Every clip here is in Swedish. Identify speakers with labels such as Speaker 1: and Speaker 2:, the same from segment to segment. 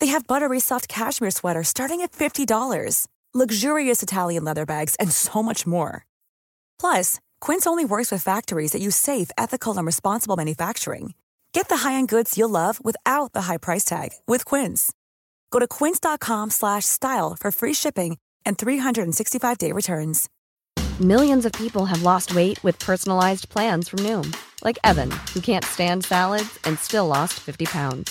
Speaker 1: They have buttery soft cashmere sweaters starting at $50, luxurious Italian leather bags, and so much more. Plus, Quince only works with factories that use safe, ethical, and responsible manufacturing. Get the high-end goods you'll love without the high price tag with Quince. Go to quince.com/style slash style for free shipping and 365-day returns.
Speaker 2: Millions of people have lost weight with personalized plans from Noom, like Evan, who can't stand salads and still lost 50 pounds.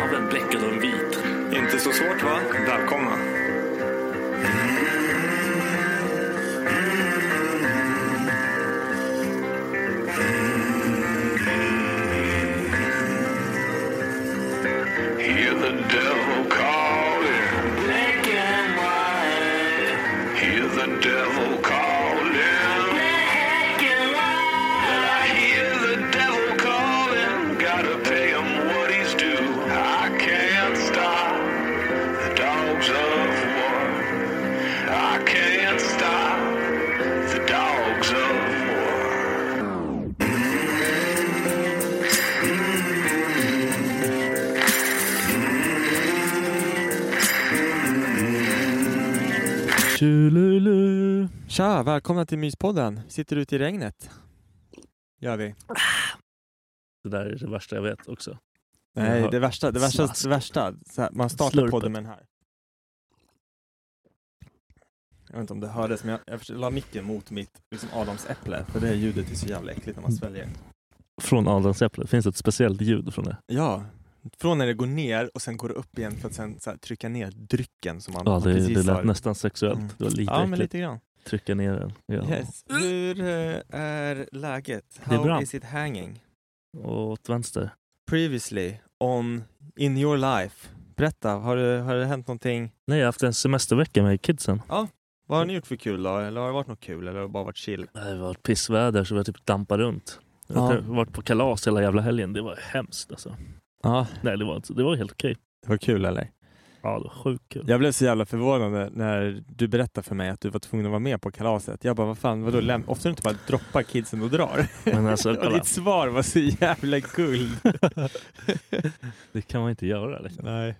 Speaker 3: av en bläckad och en vit.
Speaker 4: Inte så svårt va? Välkomna.
Speaker 5: Hear the devil calling. Black and white. Hear the devil calling. Black and white. I hear the devil calling. Gotta pay him what he's due. I can't stop the dogs of war. I can't stop the dogs of war.
Speaker 6: Tjululu. Tja, välkomna till Myspodden. Sitter ute i regnet. Gör vi.
Speaker 3: Det där är det värsta jag vet också.
Speaker 6: Nej, det värsta. Det värsta,
Speaker 3: Snask.
Speaker 6: det värsta. Så här, man startar
Speaker 3: Slurpen.
Speaker 6: podden med den här. Jag vet inte om det hördes, men jag, jag försökte- la micken mot mitt liksom adamsäpple. För det här ljudet är så jävla äckligt
Speaker 3: Mm.
Speaker 6: när man sväljer.
Speaker 3: Från adamsäpplet. Finns det ett speciellt ljud från det?
Speaker 6: Ja, från när det går ner och sen går det upp igen för att sen så här, trycka ner drycken som man
Speaker 3: Ja, det,
Speaker 6: precis
Speaker 3: det lät
Speaker 6: har.
Speaker 3: nästan sexuellt. Det var lite
Speaker 6: Ja, men
Speaker 3: äckligt.
Speaker 6: lite grann.
Speaker 3: Trycka ner den. Ja.
Speaker 6: Yes. Hur eh, är läget?
Speaker 3: Det är
Speaker 6: How
Speaker 3: bra.
Speaker 6: is it hanging?
Speaker 3: Och åt vänster.
Speaker 6: previously on In Your Life. Berätta, har, du, har det hänt någonting?
Speaker 3: Nej, jag har haft en semestervecka med kidsen.
Speaker 6: Vad har ni gjort för kul då? Eller har det varit något kul? Eller har det bara varit chill?
Speaker 3: Det har varit pissväder så vi har typ dampat runt. Jag har
Speaker 6: Ja.
Speaker 3: varit på kalas hela jävla helgen. Det var hemskt alltså.
Speaker 6: Ja,
Speaker 3: Nej, det var, inte- det var helt okej.
Speaker 6: det var kul eller?
Speaker 3: Ja, det var sjukt kul.
Speaker 6: Jag blev så jävla förvånad när du berättade för mig att du var tvungen att vara med på kalaset. Jag bara, vad fan, vadå, läm- ofta du inte bara droppar kidsen och drar?
Speaker 3: Men alltså,
Speaker 6: och
Speaker 3: kolla.
Speaker 6: ditt svar var så jävla guld.
Speaker 3: Det kan man inte göra. Liksom.
Speaker 6: Nej,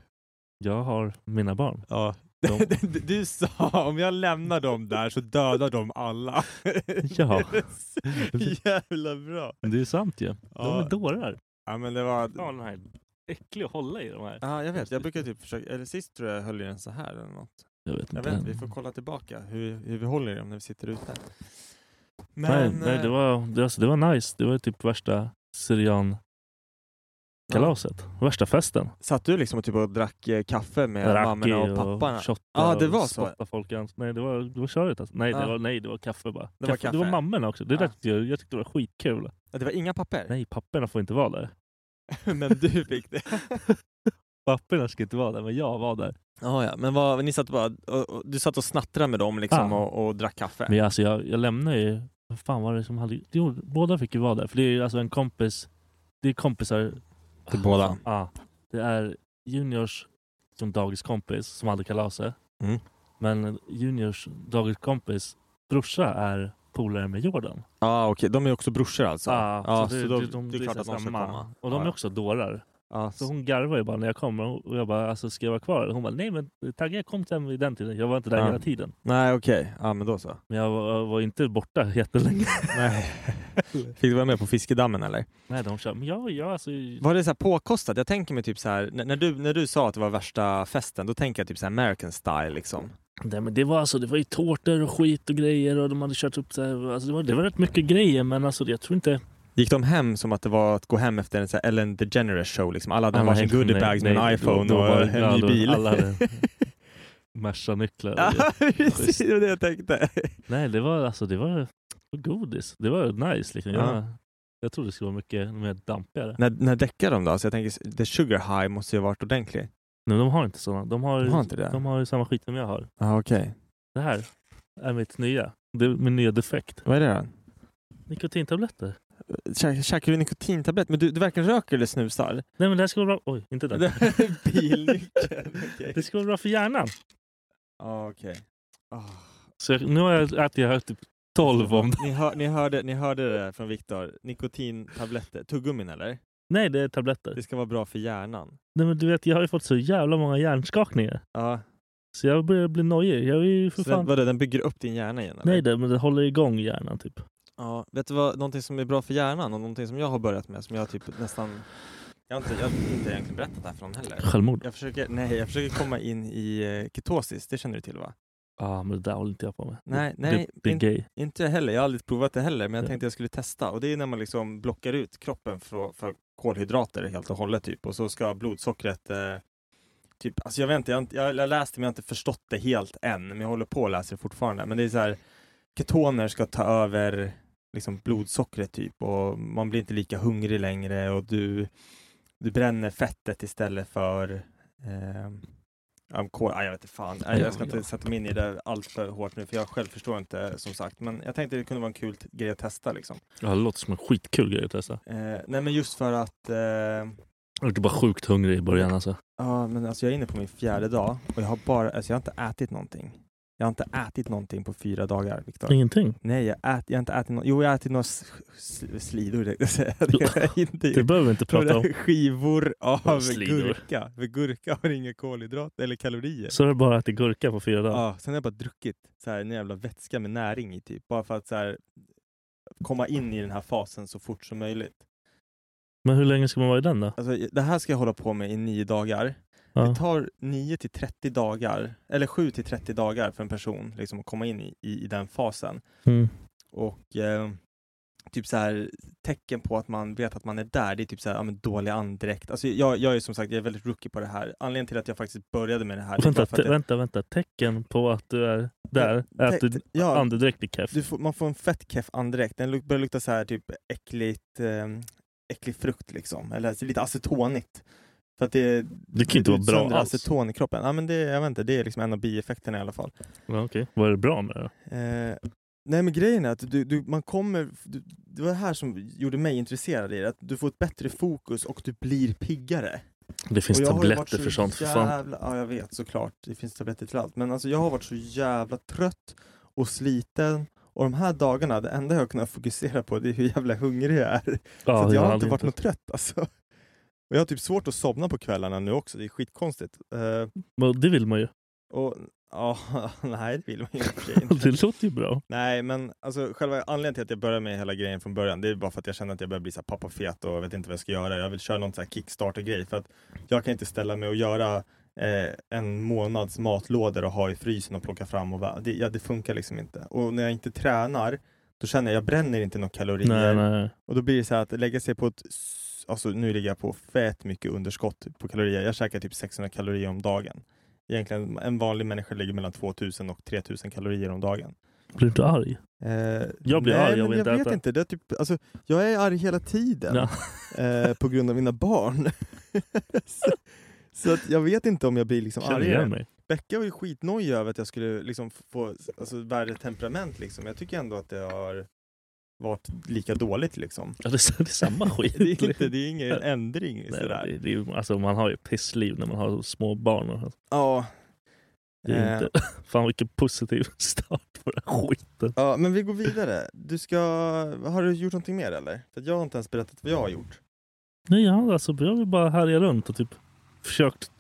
Speaker 3: Jag har mina barn.
Speaker 6: ja.
Speaker 3: De-
Speaker 6: Du, du sa, om jag lämnar dem där så dödar de alla.
Speaker 3: Ja.
Speaker 6: jävla bra.
Speaker 3: Det är sant ju. De
Speaker 6: Ja.
Speaker 3: är dårar.
Speaker 6: Ja, men det var...
Speaker 3: Ja, de här äckliga att hålla i de här.
Speaker 6: Ja, jag vet. Jag brukar typ försöka, eller sist tror jag höll i den så här eller något.
Speaker 3: Jag vet
Speaker 6: Jag
Speaker 3: inte.
Speaker 6: vet inte, vi får kolla tillbaka hur, hur vi håller i dem när vi sitter ute. Men,
Speaker 3: nej, nej, det
Speaker 6: eh,
Speaker 3: var, det, alltså, det var nice. Det var typ värsta syrian-kalaset. Värsta festen.
Speaker 6: Satt du liksom och typ och drack eh, kaffe med
Speaker 3: Raki
Speaker 6: mammorna och papparna?
Speaker 3: och shotta
Speaker 6: Ja, det var
Speaker 3: och
Speaker 6: så.
Speaker 3: spotta folk i ans- Nej, det var, det var köret alltså. Nej, det
Speaker 6: Ja.
Speaker 3: var, nej, det var kaffe bara.
Speaker 6: Det
Speaker 3: Det
Speaker 6: var
Speaker 3: var
Speaker 6: kaffe.
Speaker 3: mammorna också. Det där
Speaker 6: Ja.
Speaker 3: tyckte jag, jag tyckte det var skitkul.
Speaker 6: Ja, det var inga papper?
Speaker 3: Nej, papporna får inte vara där.
Speaker 6: men du fick det.
Speaker 3: Papporna ska inte vara där, men jag var där.
Speaker 6: ja, ja, men vad, ni satt bara, och, och, du satt och snattrade med dem liksom
Speaker 3: Ja.
Speaker 6: och, och drack kaffe?
Speaker 3: Men jag, alltså, jag, jag lämnade ju... Vad fan var det som hade... Jo, båda fick ju vara där. För det är ju alltså en kompis... Det är kompisar...
Speaker 6: Till båda?
Speaker 3: Ja. Det är Juniors som dagiskompis som hade kalaset.
Speaker 6: Mm.
Speaker 3: Men Juniors, Dagens kompis, brorsa är polare med Jordan.
Speaker 6: Ja Ah, okej, de är också brorsor alltså?
Speaker 3: Ja,
Speaker 6: Ja,
Speaker 3: Ah, så
Speaker 6: så
Speaker 3: det-
Speaker 6: då-
Speaker 3: det- de-
Speaker 6: det är
Speaker 3: det är
Speaker 6: klart
Speaker 3: så
Speaker 6: att de ska
Speaker 3: samma.
Speaker 6: komma. Ah.
Speaker 3: Och de är
Speaker 6: Ja.
Speaker 3: också dårar.
Speaker 6: Ja,
Speaker 3: Så hon garvade ju bara när jag kom och och jag bara alltså, ska jag vara kvar? Hon bara nej men tagga jag kom hem vid den tiden. Jag var inte där
Speaker 6: Ja.
Speaker 3: hela tiden.
Speaker 6: Nej okej, ja men då så.
Speaker 3: Men jag var, var inte borta jättelänge.
Speaker 6: Nej. Fick du vara med på fiskedammen eller?
Speaker 3: nej de kör. Men jag, jag alltså.
Speaker 6: Var det så här påkostat? Jag tänker mig typ så här, när, när, du, när du sa att det var värsta festen, då tänker jag typ så här American style liksom.
Speaker 3: Nej, men det var alltså det var ju tårtor och skit och grejer och de hade kört upp så här, alltså, det, var, det var rätt mycket grejer men alltså jag tror inte.
Speaker 6: Gick de hem som att det var att gå hem efter en så här Ellen DeGeneres show liksom? Alla hade
Speaker 3: Nej,
Speaker 6: varsin
Speaker 3: nej,
Speaker 6: goodiebags med
Speaker 3: nej,
Speaker 6: en
Speaker 3: då-
Speaker 6: iPhone
Speaker 3: då var
Speaker 6: och
Speaker 3: det-
Speaker 6: en
Speaker 3: ja,
Speaker 6: ny
Speaker 3: då-
Speaker 6: bil.
Speaker 3: alla hade- Merca-nycklar. och grejer.
Speaker 6: ja, precis, det var det jag tänkte.
Speaker 3: Nej det var alltså det var, det var godis. Det var nice liksom. Jag,
Speaker 6: Ja.
Speaker 3: jag trodde det skulle vara mycket mer dampigare.
Speaker 6: när, när däckar de då? Så jag tänker, the sugar high måste ju ha varit ordentlig.
Speaker 3: Nej de har inte sådana. De har,
Speaker 6: De har inte det?
Speaker 3: de har ju samma skit som jag har.
Speaker 6: Ja okej.
Speaker 3: Det här är mitt nya. Det är min nya defekt.
Speaker 6: Vad är det då?
Speaker 3: Nikotintabletter.
Speaker 6: Kä- Käkar du nikotintablett? Men du, du verkligen röker eller snusar?
Speaker 3: Nej men det här ska vara bra. Oj, inte
Speaker 6: Det
Speaker 3: den.
Speaker 6: här är Bilnyckeln. Okej.
Speaker 3: Det ska vara bra för hjärnan.
Speaker 6: Ja, okej. Ah.
Speaker 3: Så jag, nu har jag ätit jag har typ 12 om det.
Speaker 6: Ni, hör, ni, hörde, ni hörde det där från Viktor. Nikotintabletter. Tuggummin eller?
Speaker 3: Nej det är tabletter.
Speaker 6: Det ska vara bra för hjärnan.
Speaker 3: Nej men du vet jag har ju fått så jävla många hjärnskakningar.
Speaker 6: Ja.
Speaker 3: Så jag börjar bli nojig. Jag är ju för
Speaker 6: Så den,
Speaker 3: fan...
Speaker 6: vadå, den bygger upp din hjärna igen eller?
Speaker 3: Nej det, men det håller igång hjärnan typ.
Speaker 6: Ja. Vet du vad, någonting som är bra för hjärnan och någonting som jag har börjat med som jag typ nästan... Jag har inte, jag har inte egentligen berättat det här för någon heller.
Speaker 3: Självmord.
Speaker 6: Jag försöker, nej, jag försöker komma in i eh, ketosis, det känner du till va?
Speaker 3: Ja ah, men det där håller inte jag på med.
Speaker 6: Nej,
Speaker 3: det,
Speaker 6: nej,
Speaker 3: Det, det är
Speaker 6: inte-
Speaker 3: gay.
Speaker 6: Inte jag heller, jag har aldrig provat det heller, men jag
Speaker 3: Ja.
Speaker 6: tänkte jag skulle testa. Och det är när man liksom blockar ut kroppen för, för kolhydrater helt och hållet typ. Och så ska blodsockret eh, Typ, alltså jag vet inte, jag, har inte- jag, jag läste men jag har inte förstått det helt än, men jag håller på och läser det fortfarande. Men det är så här, ketoner ska ta över liksom blodsockret typ och man blir inte lika hungrig längre och du, du bränner fettet istället för ehm, ja, kol, ah, jag vet inte fan, Nej, jag ska inte sätta mig in i det allt för hårt nu för jag själv förstår inte som sagt. Men jag tänkte det kunde vara en kul t- grej att testa liksom.
Speaker 3: Ja, det låter som en skitkul grej att testa.
Speaker 6: Eh, nej men just för att eh,
Speaker 3: Jag är typ bara sjukt hungrig i början alltså.
Speaker 6: Ja, men alltså jag är inne på min fjärde dag och jag har bara, alltså jag har inte ätit någonting. Jag har inte ätit någonting på fyra dagar, Viktor.
Speaker 3: Ingenting.
Speaker 6: Nej, jag, ät, jag har inte ätit något. Jo, jag har ätit några s- s- slidor. tänkte jag säga. Det har jag inte
Speaker 3: Det
Speaker 6: gjort.
Speaker 3: behöver vi inte prata om.
Speaker 6: Skivor av
Speaker 3: Slidor.
Speaker 6: gurka. För gurka har inga kolhydrater eller kalorier.
Speaker 3: Så är det bara att äta gurka på fyra dagar.
Speaker 6: Ja, sen har jag bara druckit så här, en jävla vätska med näring i typ. Bara för att så här, komma in i den här fasen så fort som möjligt.
Speaker 3: Men hur länge ska man vara i den då?
Speaker 6: Alltså, det här ska jag hålla på med i nio dagar.
Speaker 3: Ja.
Speaker 6: Det tar 9 till 30 dagar, eller 7 till 30 dagar för en person liksom, att komma in i, i, i den fasen.
Speaker 3: Mm.
Speaker 6: Och eh, typ så här, tecken på att man vet att man är där, det är typ så här, ja, men dålig andräkt. Alltså, jag, jag är som sagt jag är väldigt rookie på det här. Anledningen till att jag faktiskt började med det här... det är
Speaker 3: Vänta,
Speaker 6: bara för att
Speaker 3: te-
Speaker 6: jag-
Speaker 3: vänta, vänta. Tecken på att du är där är att
Speaker 6: Te-
Speaker 3: du
Speaker 6: te- ja,
Speaker 3: andedräkt är keff.
Speaker 6: du får, man får en fett keff andräkt. Den luk- börjar lukta så här typ äckligt, eh, äcklig frukt liksom, eller alltså, lite acetonigt. För att det,
Speaker 3: Det kan ju inte vara bra
Speaker 6: utsöndrar
Speaker 3: alls.
Speaker 6: aceton i kroppen. Ja, men det, jag vet inte, det är liksom en av bieffekterna i alla fall.
Speaker 3: Ja, okej. Vad är det bra med det då?
Speaker 6: Eh, nej men grejen är att du, du, man kommer, du, det var det här som gjorde mig intresserad i det, att du får ett bättre fokus och du blir piggare.
Speaker 3: Det finns
Speaker 6: och jag har ju varit
Speaker 3: tabletter
Speaker 6: så
Speaker 3: för sånt för fan.
Speaker 6: jävla, Ja jag vet såklart, det finns tabletter till allt. Men alltså jag har varit så jävla trött och sliten och de här dagarna, det enda jag har kunnat fokusera på det är hur jävla hungrig jag är.
Speaker 3: Ja,
Speaker 6: så att jag har
Speaker 3: hade
Speaker 6: inte varit något trött alltså. Och jag har typ svårt att somna på kvällarna nu också, det är skitkonstigt. Eh,
Speaker 3: Men det vill man ju.
Speaker 6: och ja, nej det vill man ju i och för sig inte.
Speaker 3: Det låter ju bra.
Speaker 6: Nej, men alltså, själva anledningen till att jag började med hela grejen från början, det är bara för att jag känner att jag börjar bli så här pappafet och jag vet inte vad jag ska göra. Jag vill köra någon så här kickstarter-grej för att jag kan inte ställa mig och göra eh, en månads matlådor och ha i frysen och plocka fram och va- det, ja, det funkar liksom inte. Och när jag inte tränar, då känner jag, jag bränner inte några kalorier.
Speaker 3: Nej, nej.
Speaker 6: Och då blir det så här att lägga sig på ett, s- alltså nu ligger jag på fett mycket underskott på kalorier. Jag käkar typ 600 kalorier om dagen. Egentligen, en vanlig människa ligger mellan 2000 och 3000 kalorier om dagen.
Speaker 3: Blir du inte arg?
Speaker 6: Eh,
Speaker 3: Jag blir
Speaker 6: nej,
Speaker 3: arg av
Speaker 6: men
Speaker 3: att
Speaker 6: jag
Speaker 3: inte
Speaker 6: vet
Speaker 3: äta.
Speaker 6: inte. Det är typ, alltså, jag är arg hela tiden
Speaker 3: Ja.
Speaker 6: eh, på grund av mina barn. så så att jag vet inte om jag blir liksom
Speaker 3: Känner igen
Speaker 6: argare.
Speaker 3: mig.
Speaker 6: Becka var ju skitnojig över att jag skulle liksom f- få alltså, värre temperament. Liksom. Jag tycker ändå att det har varit lika dåligt. Liksom.
Speaker 3: Ja, det, är, det är samma skit. liksom.
Speaker 6: Det, är inte, det är ingen ändring.
Speaker 3: Nej,
Speaker 6: Sådär.
Speaker 3: det, det är, ju- alltså, man har ju ett pissliv när man har små barn. Och,
Speaker 6: Ja,
Speaker 3: Alltså,
Speaker 6: Eh,
Speaker 3: Det är inte. Fan vilken positiv start på den här skiten.
Speaker 6: Ja, men vi går vidare. Du ska... Har du gjort någonting mer eller? För att jag har inte ens berättat vad jag har gjort.
Speaker 3: Nej, ja, alltså, jag vill bara härja runt och typ försökt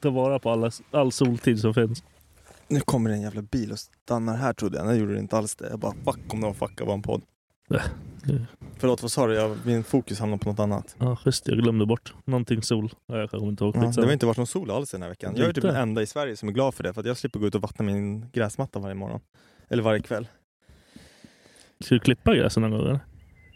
Speaker 3: ta vara på alla, all soltid som finns.
Speaker 6: Nu kommer det en jävla bil och stannar här trodde jag. Nej, gjorde det inte alls det. Jag bara fuck om de fuckar vår podd.
Speaker 3: Äh, det-
Speaker 6: Förlåt, vad sa du? Jag, min fokus hamnade på något annat.
Speaker 3: Ja, just det, jag glömde bort. Någonting sol. Ja, jag kommer inte ihåg.
Speaker 6: Ja, det
Speaker 3: Skitsamma.
Speaker 6: har inte varit någon sol alls den här veckan. Jag är typ
Speaker 3: Inte?
Speaker 6: den enda i Sverige som är glad för det, för att jag slipper gå ut och vattna min gräsmatta varje morgon. Eller varje kväll.
Speaker 3: Ska du klippa gräset någon gång? Eller?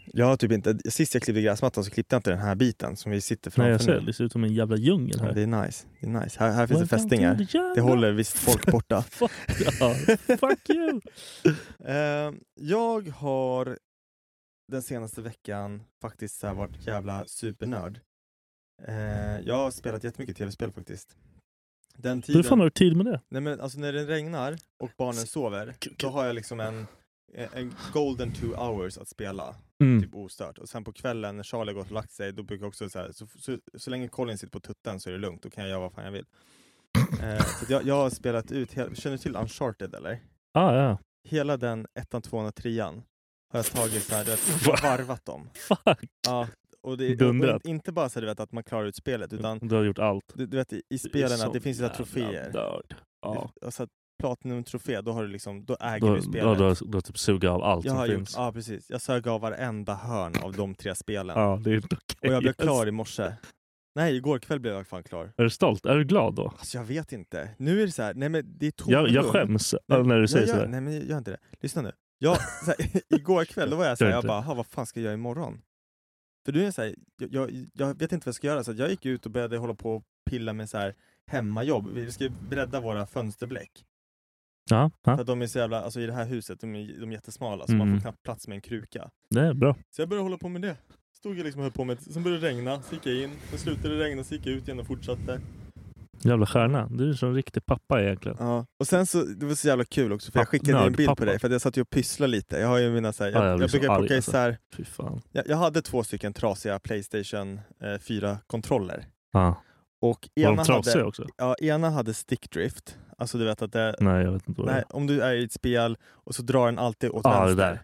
Speaker 6: Jag har typ inte, sist jag klippte gräsmattan så klippte jag inte den här biten som vi sitter framför
Speaker 3: Nej, jag ser.
Speaker 6: nu.
Speaker 3: Det ser ut som en jävla djungel
Speaker 6: Ja,
Speaker 3: här.
Speaker 6: det är nice. Det är nice. Här, här finns det
Speaker 3: Welcome to
Speaker 6: fästingar.
Speaker 3: the jungle.
Speaker 6: Det håller visst folk borta.
Speaker 3: Ja, fuck you!
Speaker 6: Eh, jag har den senaste veckan faktiskt så här varit jävla supernörd. Eh, jag har spelat jättemycket tv-spel faktiskt. Den
Speaker 3: Hur
Speaker 6: tiden,
Speaker 3: fan har du tid med det?
Speaker 6: nej men alltså när det regnar och barnen sover, då har jag liksom en, en golden two hours att spela.
Speaker 3: Mm.
Speaker 6: typ ostört. Och sen på kvällen när Charlie har gått och lagt sig, då brukar jag också så här, så, så, så länge Colin sitter på tutten så är det lugnt, då kan jag göra vad fan jag vill. Eh, så att jag, jag har spelat ut, hela, känner du till Uncharted eller?
Speaker 3: Ah, ja.
Speaker 6: Hela den ettan, tvåan och trean har jag tagit så här, du
Speaker 3: Va?
Speaker 6: vet, varvat dem.
Speaker 3: Fuck!
Speaker 6: Ja, och det, och,
Speaker 3: Dundrat.
Speaker 6: och inte bara så här, du vet att man klarar ut spelet, utan
Speaker 3: Du har gjort allt.
Speaker 6: du, du vet i, i
Speaker 3: är
Speaker 6: spelen
Speaker 3: så
Speaker 6: att det finns ju så här
Speaker 3: jävla
Speaker 6: troféer.
Speaker 3: Nörd. Ja.
Speaker 6: Du- Och så här, Platinum-trofé, då har du liksom, då äger
Speaker 3: Då,
Speaker 6: du
Speaker 3: då,
Speaker 6: spelet.
Speaker 3: då, då, då typ suga av allt
Speaker 6: jag
Speaker 3: som
Speaker 6: har gjort,
Speaker 3: finns.
Speaker 6: ja precis. Jag sög av varenda hörn av de tre spelen.
Speaker 3: Ja, det är inte okej.
Speaker 6: Och jag blev klar i morse. Nej, igår kväll blev jag fan klar.
Speaker 3: Är du stolt? Är du glad då?
Speaker 6: Alltså jag vet inte. Nu är det så här, nej men det är tomrum.
Speaker 3: Jag, jag skäms
Speaker 6: Nej,
Speaker 3: Alltså, när du
Speaker 6: jag
Speaker 3: säger
Speaker 6: gör-
Speaker 3: sådär.
Speaker 6: Nej men gör inte det. Lyssna nu. Jag, så här, igår kväll då var jag så här,
Speaker 3: Gör
Speaker 6: jag
Speaker 3: inte
Speaker 6: bara, "Ha, vad fan ska jag göra imorgon? För du är jag så här, jag, jag, jag vet inte vad jag ska göra så att jag gick ut och började hålla på och pilla med så här hemmajobb. Vi ska ju bredda våra fönsterbläck.
Speaker 3: Ja,
Speaker 6: För
Speaker 3: ja,
Speaker 6: att de är så jävla, alltså i det här huset, de är, de är jättesmala så man
Speaker 3: Mm.
Speaker 6: får knappt plats med en kruka.
Speaker 3: det är bra.
Speaker 6: Så jag började hålla på med det. Stod jag liksom och höll på med det. Sen började det regna, så gick jag in. Sen slutade det regna, så gick jag ut igen och fortsatte.
Speaker 3: Jävla stjärna. Du är som en riktig pappa egentligen.
Speaker 6: Ja. Och sen så, det var så jävla kul också för
Speaker 3: Ja,
Speaker 6: jag skickade en
Speaker 3: nörd,
Speaker 6: bild på
Speaker 3: pappa.
Speaker 6: dig för att jag satt ju och pysslade lite. Jag har ju mina så här, jag,
Speaker 3: Ja, jag
Speaker 6: jag,
Speaker 3: blir så
Speaker 6: brukar
Speaker 3: arg,
Speaker 6: plocka
Speaker 3: alltså.
Speaker 6: isär.
Speaker 3: Fy fan.
Speaker 6: Jag, jag hade två stycken trasiga Playstation eh, 4-kontroller.
Speaker 3: Ja.
Speaker 6: Och
Speaker 3: Var de
Speaker 6: ena
Speaker 3: trasiga
Speaker 6: hade,
Speaker 3: också?
Speaker 6: ja, ena hade stickdrift. Alltså du vet att det,
Speaker 3: Nej, jag vet inte vad det
Speaker 6: nej,
Speaker 3: är.
Speaker 6: om du är i ett spel och så drar den alltid åt
Speaker 3: Ja, det
Speaker 6: vänster.
Speaker 3: där.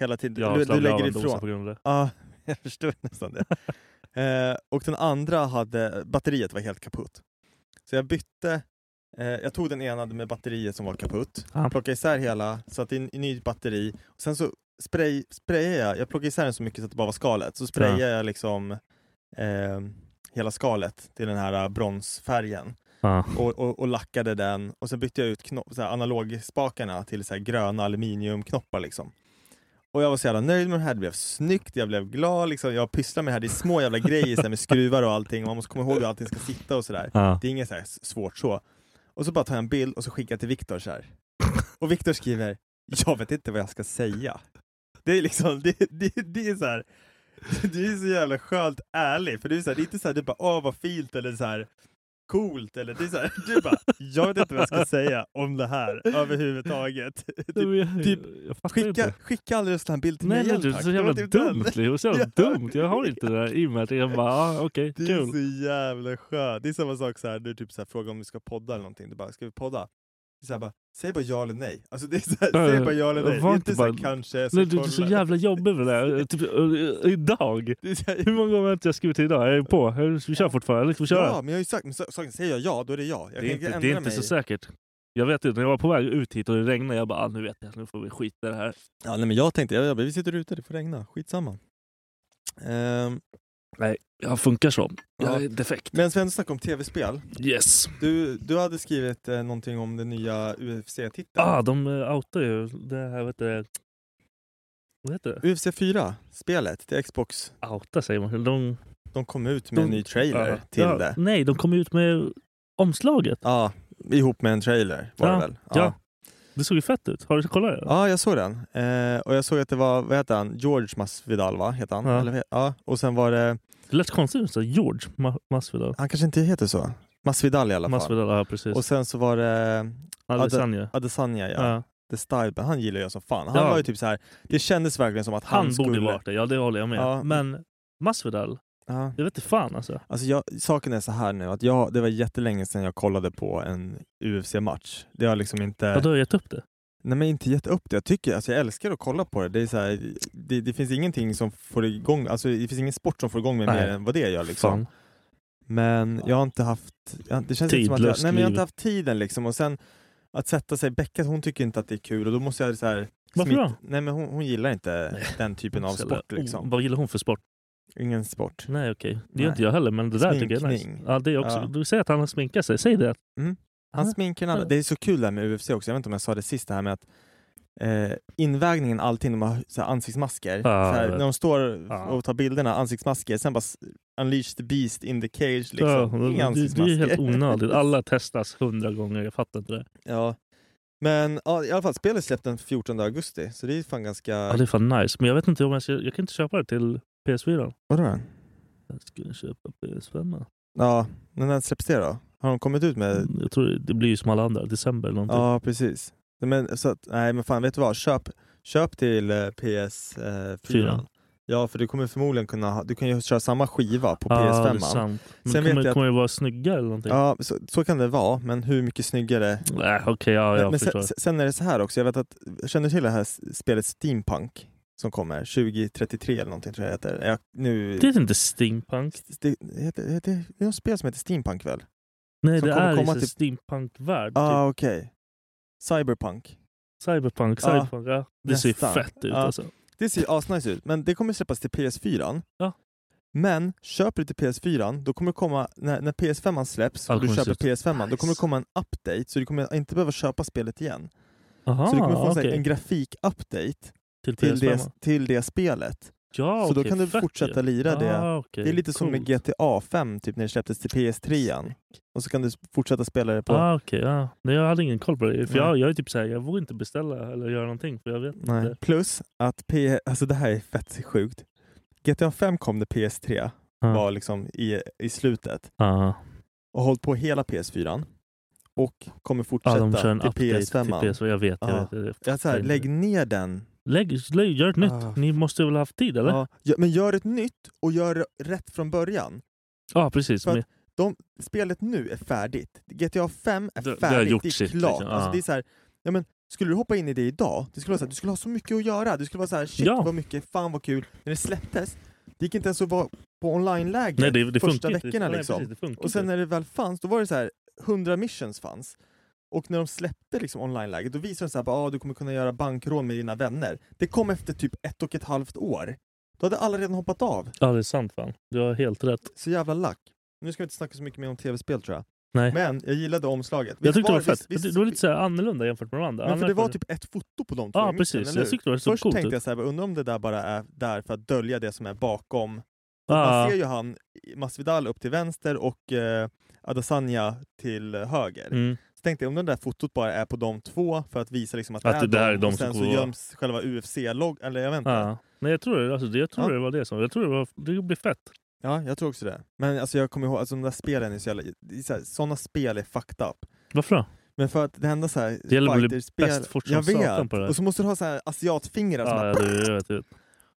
Speaker 6: Hela tiden.
Speaker 3: Jag
Speaker 6: du, du
Speaker 3: slarvade av
Speaker 6: lägger
Speaker 3: en dosa
Speaker 6: ifrån.
Speaker 3: på grund av det.
Speaker 6: Ja, jag förstår nästan det. eh, och den andra hade, batteriet var helt kaputt. Så jag bytte, eh, jag tog den ena med batteriet som var kaputt,
Speaker 3: Ja.
Speaker 6: plockade isär hela, satte in i nytt batteri, och sen så spray, sprayade jag, jag plockade isär den så mycket så att det bara var skalet, så sprayade
Speaker 3: Ja.
Speaker 6: jag liksom eh, hela skalet till den här eh, bronsfärgen
Speaker 3: Ja.
Speaker 6: och, och, och lackade den och sen bytte jag ut knopp, så här analogspakarna till så här gröna aluminiumknoppar liksom. Och jag var så jävla nöjd med det här, det blev snyggt, jag blev glad liksom. Jag pysslar med det här, det är små jävla grejer så här, med skruvar och allting, man måste komma ihåg hur allting ska sitta och sådär.
Speaker 3: Ja.
Speaker 6: Det är inget så här s- svårt så. Och så bara tar jag en bild och så skickar jag till Viktor så här. Och Viktor skriver, jag vet inte vad jag ska säga. Det är liksom, det, det, det är så här. Du är så jävla skönt ärlig, för du är, så här, det är inte så här, du bara åh vad fint eller så här coolt eller det är så här, du bara jag vet inte vad jag ska säga om det här överhuvudtaget. Typ,
Speaker 3: Jag-
Speaker 6: typ,
Speaker 3: jag fattar
Speaker 6: skicka,
Speaker 3: inte.
Speaker 6: skicka aldrig en sån här bild till
Speaker 3: Nej,
Speaker 6: mig
Speaker 3: men
Speaker 6: igen,
Speaker 3: det är
Speaker 6: tack.
Speaker 3: så
Speaker 6: Det
Speaker 3: jävla
Speaker 6: var typ den.
Speaker 3: dumt. Det är så jävla
Speaker 6: Ja.
Speaker 3: dumt. Jag har inte det där i mig. att Jag bara, ah, okej,
Speaker 6: Det är
Speaker 3: kul.
Speaker 6: så jävla skönt. Det är samma sak så här, du typ så här, frågar om vi ska podda eller någonting. Du bara, ska vi podda? Det är så här, bara, säg bara ja eller nej. Alltså det är så här,
Speaker 3: Ja,
Speaker 6: säg
Speaker 3: ja.
Speaker 6: bara ja eller
Speaker 3: Jag
Speaker 6: nej. Det
Speaker 3: Äh, var
Speaker 6: är
Speaker 3: inte
Speaker 6: inte så här,
Speaker 3: bara-
Speaker 6: kanske. jag ska
Speaker 3: Nej, du är så
Speaker 6: Alltså, kolla.
Speaker 3: jävla jobbig med det där. Typ, eh, idag.
Speaker 6: Det är så här,
Speaker 3: Hur många gånger har inte jag skrivit idag? Jag är på. Vi kör fortfarande. Eller Ska vi köra?
Speaker 6: Ja, men jag har ju sagt, men så- saken, säger jag ja, då är det ja. Jag
Speaker 3: det är
Speaker 6: kan
Speaker 3: inte,
Speaker 6: ändra
Speaker 3: det är inte
Speaker 6: mig.
Speaker 3: så säkert. Jag vet inte, när jag var på väg ut hit och det regnade, jag bara ah, nu vet jag, nu får vi skita i det här.
Speaker 6: Ja, nej, men jag tänkte, jag, jag, vi sitter ute, det får regna. Skitsamma. Um,
Speaker 3: Nej, jag funkar så. Jag
Speaker 6: Ja.
Speaker 3: är defekt.
Speaker 6: men Sven, snacka om tv-spel.
Speaker 3: Yes!
Speaker 6: Du, du hade skrivit eh, någonting om den nya UFC-titeln.
Speaker 3: Ah, de eh, outar ju det här, vet du, vad heter det?
Speaker 6: UFC 4-spelet till Xbox.
Speaker 3: Outa säger man. De,
Speaker 6: De kom ut med en
Speaker 3: De-
Speaker 6: ny trailer
Speaker 3: ja.
Speaker 6: till
Speaker 3: ja,
Speaker 6: det.
Speaker 3: Nej, de kom ut med omslaget.
Speaker 6: Ja, ihop med en trailer var
Speaker 3: Ja,
Speaker 6: det väl?
Speaker 3: ja. Det såg ju fett ut. Har du kollat det?
Speaker 6: ja jag såg den. Eh, och jag såg att det var, vad heter han, George Masvidal va? Heter han?
Speaker 3: Ja.
Speaker 6: Eller, ja. Och sen var det,
Speaker 3: Det lät konstigt. Så George Ma- Masvidal.
Speaker 6: han kanske inte heter så? Masvidal i alla fall.
Speaker 3: Masvidal, ja precis.
Speaker 6: Och sen så var det
Speaker 3: Adesanya.
Speaker 6: Adesanya ja.
Speaker 3: Ja.
Speaker 6: The Style, men han gillar jag som fan. Han
Speaker 3: Ja.
Speaker 6: var ju typ så här. det kändes verkligen som att han,
Speaker 3: Han borde
Speaker 6: skulle...
Speaker 3: varit det, ja det håller jag med.
Speaker 6: Ja.
Speaker 3: Men Masvidal,
Speaker 6: Ja.
Speaker 3: Jag vet inte fan alltså.
Speaker 6: Alltså jag, saken är så här nu att jag, det var jättelänge sedan jag kollade på en UFC-match. Det har liksom inte...
Speaker 3: Har du gett upp det?
Speaker 6: Nej men inte gett upp det. Jag tycker, alltså jag älskar att kolla på det. Det, är så här, det, det finns ingenting som får igång, alltså det finns ingen sport som får igång mig
Speaker 3: Nej.
Speaker 6: mer än vad det gör liksom.
Speaker 3: Fan.
Speaker 6: Men jag har inte haft, jag, det känns inte som att jag,
Speaker 3: Tidlöst
Speaker 6: nej, men jag har
Speaker 3: liv.
Speaker 6: inte haft tiden liksom. Och sen att sätta sig, Becka hon tycker inte att det är kul och då måste jag så här,
Speaker 3: Varför
Speaker 6: smita-
Speaker 3: då?
Speaker 6: Nej men hon, hon gillar inte
Speaker 3: Nej.
Speaker 6: den typen av
Speaker 3: Så jävla-
Speaker 6: sport liksom.
Speaker 3: Oh, vad gillar hon för sport?
Speaker 6: Ingen sport.
Speaker 3: Nej okej, det
Speaker 6: Nej.
Speaker 3: gör inte jag heller men det där tycker jag är nice.
Speaker 6: Sminkning.
Speaker 3: Ja, det är också.
Speaker 6: Ja.
Speaker 3: Du säger att han har sminkat sig, säg det.
Speaker 6: Han
Speaker 3: Ah.
Speaker 6: sminkar en annan.
Speaker 3: Ja.
Speaker 6: Det är så kul det här med UFC också, jag vet inte om jag sa det sist, det här med att eh, invägningen alltid, de har så här ansiktsmasker.
Speaker 3: Ja,
Speaker 6: så
Speaker 3: jag
Speaker 6: här,
Speaker 3: vet.
Speaker 6: när de står
Speaker 3: Ja.
Speaker 6: och tar bilderna, ansiktsmasker, sen bara s- unleash the beast in the cage
Speaker 3: Ja,
Speaker 6: liksom. Inga
Speaker 3: det, det
Speaker 6: ansiktsmasker.
Speaker 3: är helt onödigt. Alla testas hundra gånger, jag fattar inte det.
Speaker 6: ja. Men ja, i alla fall, spelet släpptes den 14 augusti, så det är fan ganska...
Speaker 3: Ja, det är fan nice. Men jag vet inte om jag ska, Jag kan inte köpa det till PS4.
Speaker 6: Vadå då?
Speaker 3: Jag skulle köpa
Speaker 6: Eh.
Speaker 3: PS5.
Speaker 6: Ja, men när släpps det då? Har de kommit ut med...
Speaker 3: Jag tror det blir ju som alla andra, december eller någonting.
Speaker 6: Ja, precis. Men, så att, nej men fan, vet du vad? Köp, köp till eh, PS4.
Speaker 3: Fyran.
Speaker 6: Ja, för du kommer förmodligen kunna ha, du kan ju köra samma skiva på
Speaker 3: Ja, det är
Speaker 6: PS5.
Speaker 3: sant. Men
Speaker 6: Sen
Speaker 3: det
Speaker 6: vet
Speaker 3: kommer,
Speaker 6: jag att-
Speaker 3: kommer ju vara snyggare eller någonting.
Speaker 6: Ja, så, så kan det vara, men hur mycket snyggare?
Speaker 3: Nej, Äh, okej, ja, jag
Speaker 6: men
Speaker 3: förstår.
Speaker 6: sen, sen är det så här också, jag vet att, känner du till det här s- spelet Steampunk? Som kommer 2033 eller någonting tror jag heter. Jag, nu,
Speaker 3: Det är inte steampunk.
Speaker 6: det, heter, heter, det är något spel som heter Steampunk väl?
Speaker 3: Typ. Nej,
Speaker 6: Som
Speaker 3: det
Speaker 6: kommer
Speaker 3: är
Speaker 6: komma
Speaker 3: i
Speaker 6: till-
Speaker 3: typ... steampunk-värld.
Speaker 6: Ja,
Speaker 3: Typ.
Speaker 6: ah, okej. Cyberpunk.
Speaker 3: Cyberpunk,
Speaker 6: Ja,
Speaker 3: cyberpunk. Ja. Det ser ju
Speaker 6: nästan.
Speaker 3: fett ut
Speaker 6: Ja.
Speaker 3: alltså.
Speaker 6: Det ser ju asnice ut, men det kommer släppas till PS4.
Speaker 3: Ja.
Speaker 6: Men köper du till PS4, då kommer det komma, när, när PS5 släpps
Speaker 3: Ja,
Speaker 6: och
Speaker 3: det
Speaker 6: du
Speaker 3: kommer
Speaker 6: köper
Speaker 3: se
Speaker 6: PS5, då
Speaker 3: nice.
Speaker 6: kommer det komma en update så du kommer inte behöva köpa spelet igen.
Speaker 3: Aha,
Speaker 6: så du kommer få en sån här-
Speaker 3: Ah, okej.
Speaker 6: en grafik-update
Speaker 3: till
Speaker 6: till
Speaker 3: PS5.
Speaker 6: det, till det spelet.
Speaker 3: Ja,
Speaker 6: så
Speaker 3: Ah,
Speaker 6: då
Speaker 3: okej,
Speaker 6: kan du
Speaker 3: fett ju.
Speaker 6: fortsätta lira det.
Speaker 3: Ah, okej,
Speaker 6: det är lite som med
Speaker 3: coolt.
Speaker 6: GTA 5, typ när det släpptes till PS3. Och så kan du fortsätta spela det på...
Speaker 3: Ah, okej, ja. Nej, jag hade ingen koll på det. För
Speaker 6: Nej.
Speaker 3: jag, jag är typ såhär, jag vågar inte beställa eller göra någonting för jag vet
Speaker 6: Nej.
Speaker 3: inte.
Speaker 6: Plus att P... Alltså det här är fett sjukt. GTA 5 kom när PS3
Speaker 3: Ah.
Speaker 6: var liksom i, i slutet.
Speaker 3: Ah.
Speaker 6: och hållit på hela PS4 och kommer
Speaker 3: Ja,
Speaker 6: fortsätta
Speaker 3: de kör en
Speaker 6: till
Speaker 3: update
Speaker 6: PS5.
Speaker 3: till PS5. Jag vet,
Speaker 6: Ja.
Speaker 3: jag vet. Jag vet.
Speaker 6: Jag säger, lägg ner den.
Speaker 3: Lägg, lägg, gör ett nytt.
Speaker 6: Ah.
Speaker 3: Ni måste väl ha haft tid eller? Ja,
Speaker 6: Ja, ja, men gör ett nytt och gör det rätt från början.
Speaker 3: Ah, precis.
Speaker 6: För att
Speaker 3: Men-
Speaker 6: Spelet nu är färdigt. GTA 5 är
Speaker 3: Det- det har
Speaker 6: färdigt, det,
Speaker 3: gjort
Speaker 6: är
Speaker 3: sitt,
Speaker 6: klart.
Speaker 3: liksom.
Speaker 6: Alltså,
Speaker 3: Ja.
Speaker 6: det är så här, ja, men, skulle du hoppa in i det idag, det skulle vara så här, du skulle ha så mycket att göra. Du skulle vara så här, shit
Speaker 3: Ja.
Speaker 6: vad mycket, fan vad kul. När det släpptes, det gick inte ens att vara på online-läge
Speaker 3: nej, det, det
Speaker 6: första
Speaker 3: funkar inte.
Speaker 6: veckorna.
Speaker 3: Nej,
Speaker 6: liksom.
Speaker 3: precis, det funkar
Speaker 6: Och sen
Speaker 3: inte.
Speaker 6: när det väl fanns, då var det så här 100 missions fanns. Och när de släppte liksom online-läget, då visade de så här, bara, ah, du kommer kunna göra bankrån med dina vänner. Det kom efter typ ett och ett halvt år. Då hade alla redan hoppat av.
Speaker 3: Ja, det är sant fan. Du har helt rätt.
Speaker 6: Så jävla lack. Nu ska vi inte snacka så mycket mer om tv-spel tror jag.
Speaker 3: Nej.
Speaker 6: Men jag gillade omslaget.
Speaker 3: jag
Speaker 6: Visst
Speaker 3: tyckte det var
Speaker 6: visst-
Speaker 3: fett.
Speaker 6: visst-
Speaker 3: det var lite så här annorlunda jämfört med de andra.
Speaker 6: men för
Speaker 3: Andra
Speaker 6: det var
Speaker 3: kunde-
Speaker 6: typ ett foto på de två
Speaker 3: Ja,
Speaker 6: i mitten,
Speaker 3: precis.
Speaker 6: eller
Speaker 3: Jag
Speaker 6: hur?
Speaker 3: tyckte det såg
Speaker 6: Först
Speaker 3: coolt
Speaker 6: tänkte
Speaker 3: ut.
Speaker 6: jag så här, bara, undrar om det där bara är där för att dölja det som är bakom. Man
Speaker 3: Ah,
Speaker 6: ser ju han, Masvidal upp till vänster och eh, Adesanya till höger.
Speaker 3: mm.
Speaker 6: Så tänkte jag om det där fotot bara är på de två för att visa liksom att,
Speaker 3: Att det där är de
Speaker 6: och sen
Speaker 3: som
Speaker 6: så
Speaker 3: kommer vara-
Speaker 6: göms själva UFC-logg, eller jag vet inte.
Speaker 3: ah. Nej, jag tror, det, alltså, det, jag tror
Speaker 6: Ja.
Speaker 3: det var det som... Jag tror det, var, det blir fett.
Speaker 6: Ja, jag tror också det. Men alltså jag kommer ihåg, alltså de där spelen är så jävla, det är så här, såna spel är fucked up.
Speaker 3: Varför då?
Speaker 6: Men för att det enda så här
Speaker 3: Det gäller att bli
Speaker 6: fighterspel-
Speaker 3: bäst fort som
Speaker 6: Jag
Speaker 3: satan
Speaker 6: vet!
Speaker 3: på det här.
Speaker 6: Och så måste du ha så här asiatfingrar som
Speaker 3: Ja,
Speaker 6: bara,
Speaker 3: ja, det, jag vet, jag vet.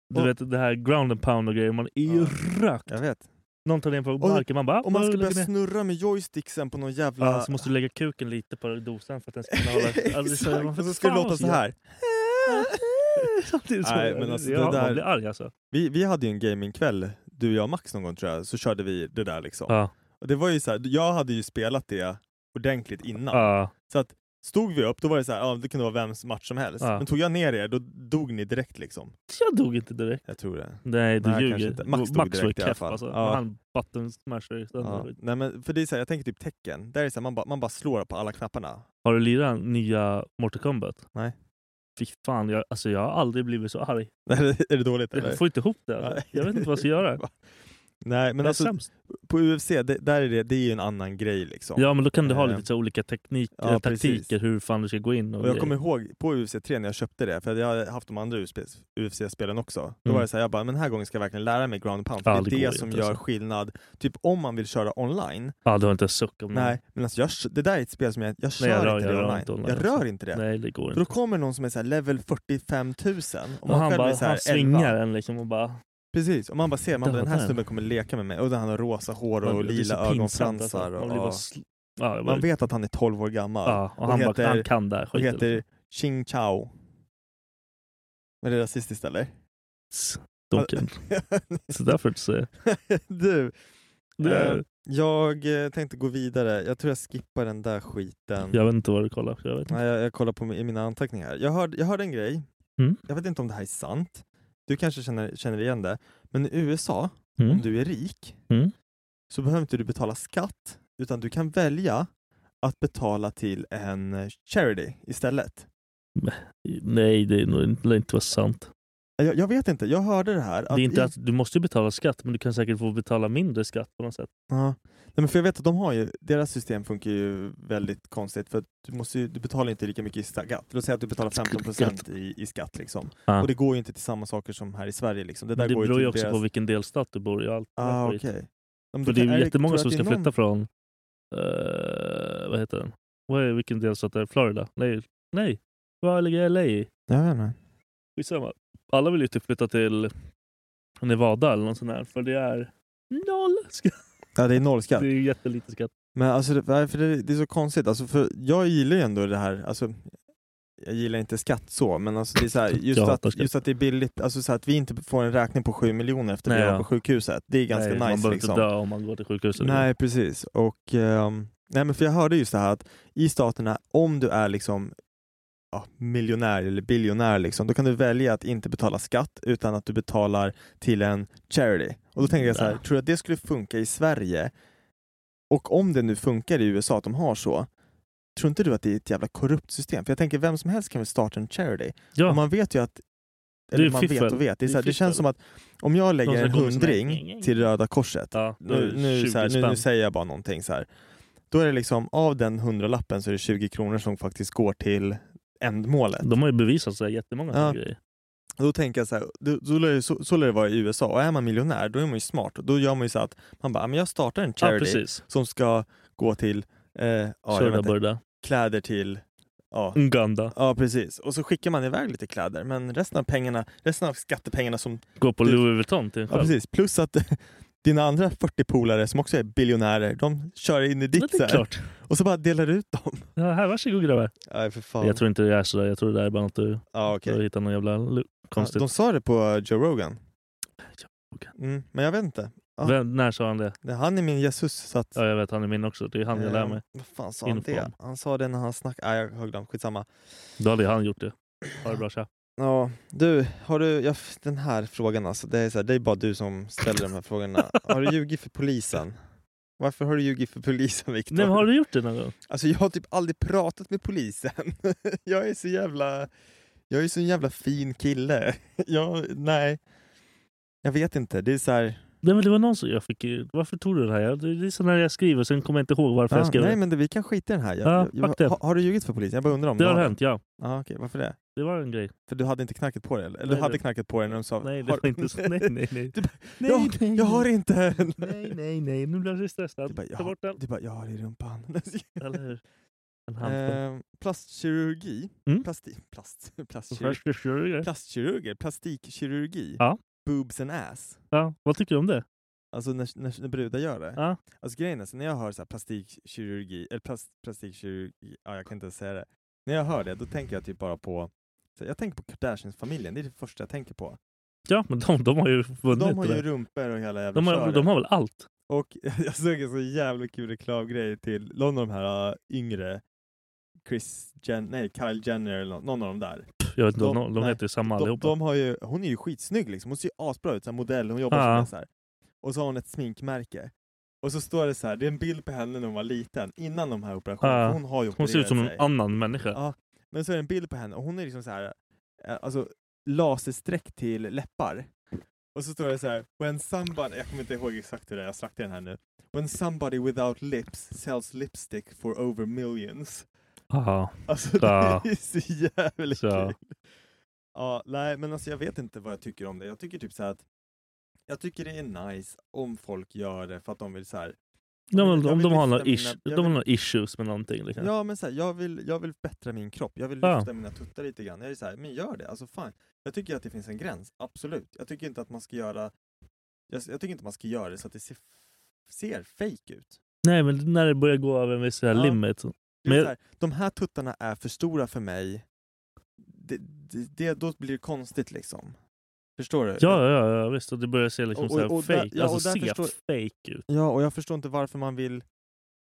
Speaker 3: Du
Speaker 6: Och-
Speaker 3: vet det här ground and pound och grejer. Man är ju
Speaker 6: Ja.
Speaker 3: rökt.
Speaker 6: Jag vet.
Speaker 3: Någon tar ner på marken. Man bara...
Speaker 6: Om man ska
Speaker 3: lägger
Speaker 6: börja
Speaker 3: ner.
Speaker 6: snurra med joysticksen på någon jävla...
Speaker 3: Ja, så måste du lägga kuken lite på dosan för att den ska kunna hålla... Alltså, det är så-
Speaker 6: Exakt!
Speaker 3: man-
Speaker 6: Och så ska det
Speaker 3: Fan,
Speaker 6: låta så
Speaker 3: jag-
Speaker 6: här.
Speaker 3: Samtidigt så-
Speaker 6: Nej, men alltså, det
Speaker 3: ja,
Speaker 6: där-
Speaker 3: Man blir arg alltså.
Speaker 6: Vi, vi hade ju en gamingkväll, du, jag och Max någon gång tror jag, så körde vi det där liksom.
Speaker 3: Ja.
Speaker 6: Och det var ju så här, jag hade ju spelat det ordentligt innan.
Speaker 3: Ja.
Speaker 6: Så att stod vi upp, då var det så här, ja, det kunde vara vems match som helst.
Speaker 3: Ja.
Speaker 6: Men tog jag ner er, då dog ni direkt liksom.
Speaker 3: Jag dog inte direkt.
Speaker 6: Jag tror det.
Speaker 3: Nej, du
Speaker 6: Nej, kanske
Speaker 3: ljuger.
Speaker 6: inte. Max dog
Speaker 3: Max var
Speaker 6: direkt i alla
Speaker 3: keff
Speaker 6: fall.
Speaker 3: alltså.
Speaker 6: Ja.
Speaker 3: Han button smashade
Speaker 6: Ja.
Speaker 3: sönder.
Speaker 6: Nej, men för det är så här, jag tänker typ tecken. Där är det så här, man, bara- man bara slår på alla knapparna.
Speaker 3: Har du lirat nya Mortal Kombat?
Speaker 6: Nej.
Speaker 3: Fy fan, jag, alltså, jag har aldrig blivit så arg.
Speaker 6: är det dåligt eller?
Speaker 3: Jag får inte ihop det. Alltså.
Speaker 6: Nej.
Speaker 3: Jag vet inte vad jag ska göra.
Speaker 6: Nej, men
Speaker 3: Men
Speaker 6: alltså
Speaker 3: sämst.
Speaker 6: på UFC, det, där är det, det är ju en annan grej liksom.
Speaker 3: Ja, men då kan du ha
Speaker 6: Eh.
Speaker 3: lite så här olika teknik,
Speaker 6: Ja,
Speaker 3: eller
Speaker 6: precis.
Speaker 3: taktiker hur fan du ska gå in. Och
Speaker 6: Och jag
Speaker 3: grejer.
Speaker 6: kommer ihåg på UFC 3 när jag köpte det, för jag hade haft de andra UFC-spelen också. Då
Speaker 3: Mm.
Speaker 6: var det så här, jag bara, men den här gången ska jag verkligen lära mig ground and pound. För
Speaker 3: Ja,
Speaker 6: det
Speaker 3: det
Speaker 6: är
Speaker 3: går
Speaker 6: det
Speaker 3: ju
Speaker 6: som
Speaker 3: inte,
Speaker 6: gör
Speaker 3: alltså.
Speaker 6: skillnad. Typ om man vill köra online.
Speaker 3: Ja, du har inte en suck om
Speaker 6: Nej, men alltså jag, det där är ett spel som jag, jag kör
Speaker 3: jag rör-
Speaker 6: inte
Speaker 3: jag
Speaker 6: det
Speaker 3: rör
Speaker 6: online.
Speaker 3: inte online
Speaker 6: Jag
Speaker 3: också.
Speaker 6: rör inte det.
Speaker 3: det. Nej, det går
Speaker 6: För då
Speaker 3: inte.
Speaker 6: kommer någon som är så här level 45 000 och,
Speaker 3: Och
Speaker 6: man
Speaker 3: han
Speaker 6: själv
Speaker 3: bara,
Speaker 6: är så här
Speaker 3: han
Speaker 6: 11.
Speaker 3: svingar en liksom och bara...
Speaker 6: Precis, och man bara ser, man
Speaker 3: Där
Speaker 6: bara, den
Speaker 3: var
Speaker 6: här
Speaker 3: den.
Speaker 6: snubben kommer leka med mig. Och han har rosa hår och
Speaker 3: Man- det är så
Speaker 6: lila
Speaker 3: pinsamt, alltså.
Speaker 6: ögonfransar.
Speaker 3: Man blir bara
Speaker 6: och,
Speaker 3: sl- Ja, jag bara-
Speaker 6: man vet att han är 12 år gammal.
Speaker 3: Ja, och han, bara, han kan det här
Speaker 6: och
Speaker 3: skiten. liksom.
Speaker 6: heter Ching Chao. Men det är rasistiskt eller?
Speaker 3: Donken. Så där får du inte säga.
Speaker 6: du,
Speaker 3: Det
Speaker 6: eh,
Speaker 3: är,
Speaker 6: jag eh, tänkte gå vidare. Jag tror jag skippar den där skiten.
Speaker 3: jag vet inte vad du kollar. Jag vet inte.
Speaker 6: Nej, jag, jag kollar på mi- i mina anteckningar. Jag hörde, jag hörde en grej.
Speaker 3: Mm.
Speaker 6: Jag vet inte om det här är sant. Du kanske känner, känner igen det. Men i USA, om
Speaker 3: Mm.
Speaker 6: du är rik,
Speaker 3: Mm.
Speaker 6: så behöver inte du betala skatt, utan du kan välja att betala till en eh, charity istället.
Speaker 3: Nej, det är nog inte, lär inte vara sant.
Speaker 6: Jag, jag vet inte, jag hörde det här.
Speaker 3: det är inte
Speaker 6: i-
Speaker 3: att, du måste ju betala skatt, men du kan säkert få betala mindre skatt på något sätt.
Speaker 6: Ja. Nej, men för jag vet att de har ju, deras system funkar ju väldigt konstigt för att du, måste ju, du betalar inte lika mycket i skatt. Låt säga att du betalar 15 procent i, i skatt liksom.
Speaker 3: Ja.
Speaker 6: Och det går ju inte till samma saker som här i Sverige liksom. Det,
Speaker 3: Det,
Speaker 6: där
Speaker 3: det
Speaker 6: går
Speaker 3: beror ju
Speaker 6: till
Speaker 3: också
Speaker 6: deras...
Speaker 3: på vilken delstat du bor i. och Allt
Speaker 6: Ah,
Speaker 3: skit.
Speaker 6: okej. Ja, men
Speaker 3: För
Speaker 6: du
Speaker 3: det
Speaker 6: kan-
Speaker 3: är ju
Speaker 6: det-
Speaker 3: jättemånga
Speaker 6: tror
Speaker 3: som
Speaker 6: du
Speaker 3: ska
Speaker 6: att det är
Speaker 3: flytta från... eh, vad heter den? Vad är, vilken delstat är det? Florida? Nej. Nej. Vad ligger LA i?
Speaker 6: Någon... Jag vet inte.
Speaker 3: Skitsamma. Alla vill ju typ flytta till Nevada eller något sånt där. För det är noll skatt.
Speaker 6: Ja, det är noll skatt.
Speaker 3: Det är ju jättelite skatt.
Speaker 6: Men alltså, det, nej, för det, det är så konstigt. Alltså, för jag gillar ju ändå det här, alltså, jag gillar inte skatt så, men alltså, det är så här, just,
Speaker 3: Jag hatar
Speaker 6: att,
Speaker 3: skatt.
Speaker 6: just att det är billigt, alltså, så här, att vi inte får en räkning på 7 miljoner efter
Speaker 3: Nej,
Speaker 6: vi var
Speaker 3: ja.
Speaker 6: på sjukhuset. Det är ganska
Speaker 3: Nej, man
Speaker 6: nice
Speaker 3: behöver
Speaker 6: liksom.
Speaker 3: inte dö om man går till sjukhuset.
Speaker 6: Nej, precis. Och, ehm, nej, men för jag hörde just det här att i staterna, om du är liksom ja, miljonär eller biljonär, liksom, då kan du välja att inte betala skatt utan att du betalar till en charity. Och då tänkte jag så här,
Speaker 3: Ja.
Speaker 6: tror du att det skulle funka i Sverige? Och om det nu funkar i USA att de har så, tror inte du att det är ett jävla korrupt system? För jag tänker, vem som helst kan väl starta en charity?
Speaker 3: Ja,
Speaker 6: Och man vet ju att
Speaker 3: Det
Speaker 6: eller
Speaker 3: är
Speaker 6: man vet
Speaker 3: fiffel.
Speaker 6: och vet.
Speaker 3: Det
Speaker 6: Det, är
Speaker 3: är
Speaker 6: så här, det känns
Speaker 3: fiffel.
Speaker 6: som att om jag
Speaker 3: De
Speaker 6: lägger
Speaker 3: som
Speaker 6: en
Speaker 3: går med såna här-
Speaker 6: hundring till Röda Korset
Speaker 3: ja då är
Speaker 6: nu,
Speaker 3: det
Speaker 6: nu,
Speaker 3: 20
Speaker 6: så här, nu,
Speaker 3: spänn.
Speaker 6: nu säger jag bara någonting så här. Då är det liksom av den hundralappen så är det 20 kronor som faktiskt går till ändmålet.
Speaker 3: De har ju bevisat så här jättemånga
Speaker 6: Ja.
Speaker 3: såna grejer.
Speaker 6: Då tänker jag så här, då, då lär det, så, så lär det vara i USA och är man miljonär då är man ju smart. Då gör man ju så att man bara, "Ja, men jag startar en
Speaker 3: Ja,
Speaker 6: charity
Speaker 3: precis.
Speaker 6: som ska gå till eh, ja, jag vet
Speaker 3: Körda
Speaker 6: inte,
Speaker 3: börda.
Speaker 6: kläder till ja,
Speaker 3: Uganda.
Speaker 6: ja precis. Och så skickar man iväg lite kläder men resten av pengarna, resten av skattepengarna som,
Speaker 3: Gå på
Speaker 6: Du-
Speaker 3: Louis Vuitton till en
Speaker 6: ja
Speaker 3: själv.
Speaker 6: precis, plus att dina andra 40 polare som också är biljonärer, de kör in i
Speaker 3: Ja,
Speaker 6: ditt
Speaker 3: det
Speaker 6: så
Speaker 3: är
Speaker 6: här,
Speaker 3: klart.
Speaker 6: och så bara delar ut dem.
Speaker 3: Ja, här, varsågod grabbar.
Speaker 6: Nej för fan.
Speaker 3: Jag tror inte det är sådär. Jag tror det där är bara något du,
Speaker 6: ja, okej.
Speaker 3: du hittar någon jävla lu- konstigt.
Speaker 6: De sa det på Joe Rogan.
Speaker 3: Joe
Speaker 6: Mm, men jag vet inte. ja.
Speaker 3: Vem, när sa han det?
Speaker 6: Det- Han är min Jesus. Så att,
Speaker 3: Ja, jag vet. Han är min också. Det är han jag lär
Speaker 6: eh,
Speaker 3: mig.
Speaker 6: Vad fan sa han det?
Speaker 3: Inform.
Speaker 6: Han sa det när han snackade. Nej, jag har glömt. Skitsamma.
Speaker 3: Då hade ju han gjort det. Ha det bra tja.
Speaker 6: Ja, du, har du, ja, f- den här frågan alltså. Det är, så här, det är bara du som ställer de här frågorna. Har du ljugit för polisen? Varför har du ljugit för polisen Viktor?
Speaker 3: Nej, men har du gjort det någon gång?
Speaker 6: Alltså jag har typ aldrig pratat med polisen. jag är så jävla... Jag är så en jävla fin kille. jag, nej. Jag vet inte. Det är så här...
Speaker 3: Nej, men det var någon som jag fick... ju- Varför tog du det här? Jag- Det det är så när jag skriver, sen kommer jag inte ihåg varför jag
Speaker 6: Ja,
Speaker 3: skrev
Speaker 6: nej
Speaker 3: det.
Speaker 6: men det, vi kan skita i den här. Jag,
Speaker 3: Ja,
Speaker 6: jag,
Speaker 3: fuck det.
Speaker 6: har, har du ljugit för polisen? Jag bara undrar om
Speaker 3: Det
Speaker 6: du
Speaker 3: har hänt, ja.
Speaker 6: Ja, okej, varför det?
Speaker 3: Det var en grej.
Speaker 6: För du hade inte knarket på dig? Eller, eller
Speaker 3: Nej,
Speaker 6: du hade
Speaker 3: det-
Speaker 6: knarket på dig när de sa...
Speaker 3: Nej, det
Speaker 6: har-
Speaker 3: var inte så. Nej, nej, nej.
Speaker 6: Du bara, jag, jag har inte!
Speaker 3: Nej, nej, nej. Nu blir jag så
Speaker 6: Du
Speaker 3: stressad.
Speaker 6: bara,
Speaker 3: Ta
Speaker 6: jag,
Speaker 3: bort den.
Speaker 6: du bara, jag har det i rumpan.
Speaker 3: Eller hur? En hand.
Speaker 6: Ehm, plastkirurgi?
Speaker 3: Mm.
Speaker 6: Plasti, plast, plastkirurgi?
Speaker 3: På.
Speaker 6: Plastkirurger? Plastikkirurgi?
Speaker 3: Ja.
Speaker 6: Boobs and ass?
Speaker 3: Ja, vad tycker du om det?
Speaker 6: Alltså när, när, när brudar gör det.
Speaker 3: Ja.
Speaker 6: Alltså grejen är, så när jag hör så här plastikkirurgi, eller plast, plastikkirurgi, ja jag kan inte ens säga det. När jag hör det, då tänker jag typ bara på, så jag tänker på Kardashians-familjen, det är det första jag tänker på.
Speaker 3: Ja, men de, de har ju vunnit
Speaker 6: De har
Speaker 3: det
Speaker 6: ju
Speaker 3: där.
Speaker 6: rumpor och hela jävla
Speaker 3: de, har,
Speaker 6: köret.
Speaker 3: de har väl allt?
Speaker 6: Och jag såg en så jävla kul reklamgrej till någon av de här äh, yngre, Chris Jen, nej Kyle Jenner eller nå- någon av dem där.
Speaker 3: Jag vet inte, om
Speaker 6: De-
Speaker 3: de, de
Speaker 6: nej,
Speaker 3: heter ju samma
Speaker 6: De,
Speaker 3: allihopa.
Speaker 6: de har ju, hon är ju skitsnygg liksom, hon ser ju asbra ut, så här modell, hon jobbar
Speaker 3: Ja.
Speaker 6: som en så här. Och så har hon ett sminkmärke. Och så står det så här, det är en bild på henne när hon var liten, innan de här operationerna,
Speaker 3: Ja.
Speaker 6: för hon har ju
Speaker 3: Hon ser ut
Speaker 6: opererat
Speaker 3: som
Speaker 6: sig.
Speaker 3: en annan människa.
Speaker 6: Ja. Men så är det en bild på henne och hon är liksom så här, eh, alltså lasersträck till läppar. Och så står det så här, when somebody, jag kommer inte ihåg exakt hur det är, jag slaktar den här nu. When somebody without lips sells lipstick for over millions.
Speaker 3: Aha.
Speaker 6: Alltså
Speaker 3: Ja.
Speaker 6: det är så jävla
Speaker 3: Ah, Så.
Speaker 6: kul. Ja, nej men alltså jag vet inte vad jag tycker om det. Jag tycker typ så här att jag tycker det är nice om folk gör det för att de vill så här
Speaker 3: Ja, men,
Speaker 6: Jag
Speaker 3: om
Speaker 6: vill
Speaker 3: de har,
Speaker 6: lyfta
Speaker 3: några
Speaker 6: mina-
Speaker 3: ish,
Speaker 6: jag
Speaker 3: de har
Speaker 6: vill-
Speaker 3: några issues med någonting. Liksom.
Speaker 6: Ja, men så här, jag, vill, jag vill bättra min kropp. Jag vill
Speaker 3: Ja.
Speaker 6: lyfta mina tuttar lite grann. Jag är så här, men gör det. Alltså fine. Jag tycker att det finns en gräns. Absolut. Jag tycker inte att man ska göra jag, jag tycker inte man ska göra det så att det ser, ser fake ut.
Speaker 3: Nej, men när det börjar gå över en viss ja.
Speaker 6: Ja.
Speaker 3: limit. så-
Speaker 6: Det är
Speaker 3: Men-
Speaker 6: så här, de här tuttarna är för stora för mig. Det, det, det, då blir det konstigt liksom. Förstår du?
Speaker 3: Ja, ja, ja, visst. Och det börjar se liksom
Speaker 6: Och-
Speaker 3: så här
Speaker 6: och- och där-
Speaker 3: fake,
Speaker 6: ja, och
Speaker 3: alltså
Speaker 6: där
Speaker 3: se
Speaker 6: förstår-
Speaker 3: fake ut.
Speaker 6: Ja, och jag förstår inte varför man vill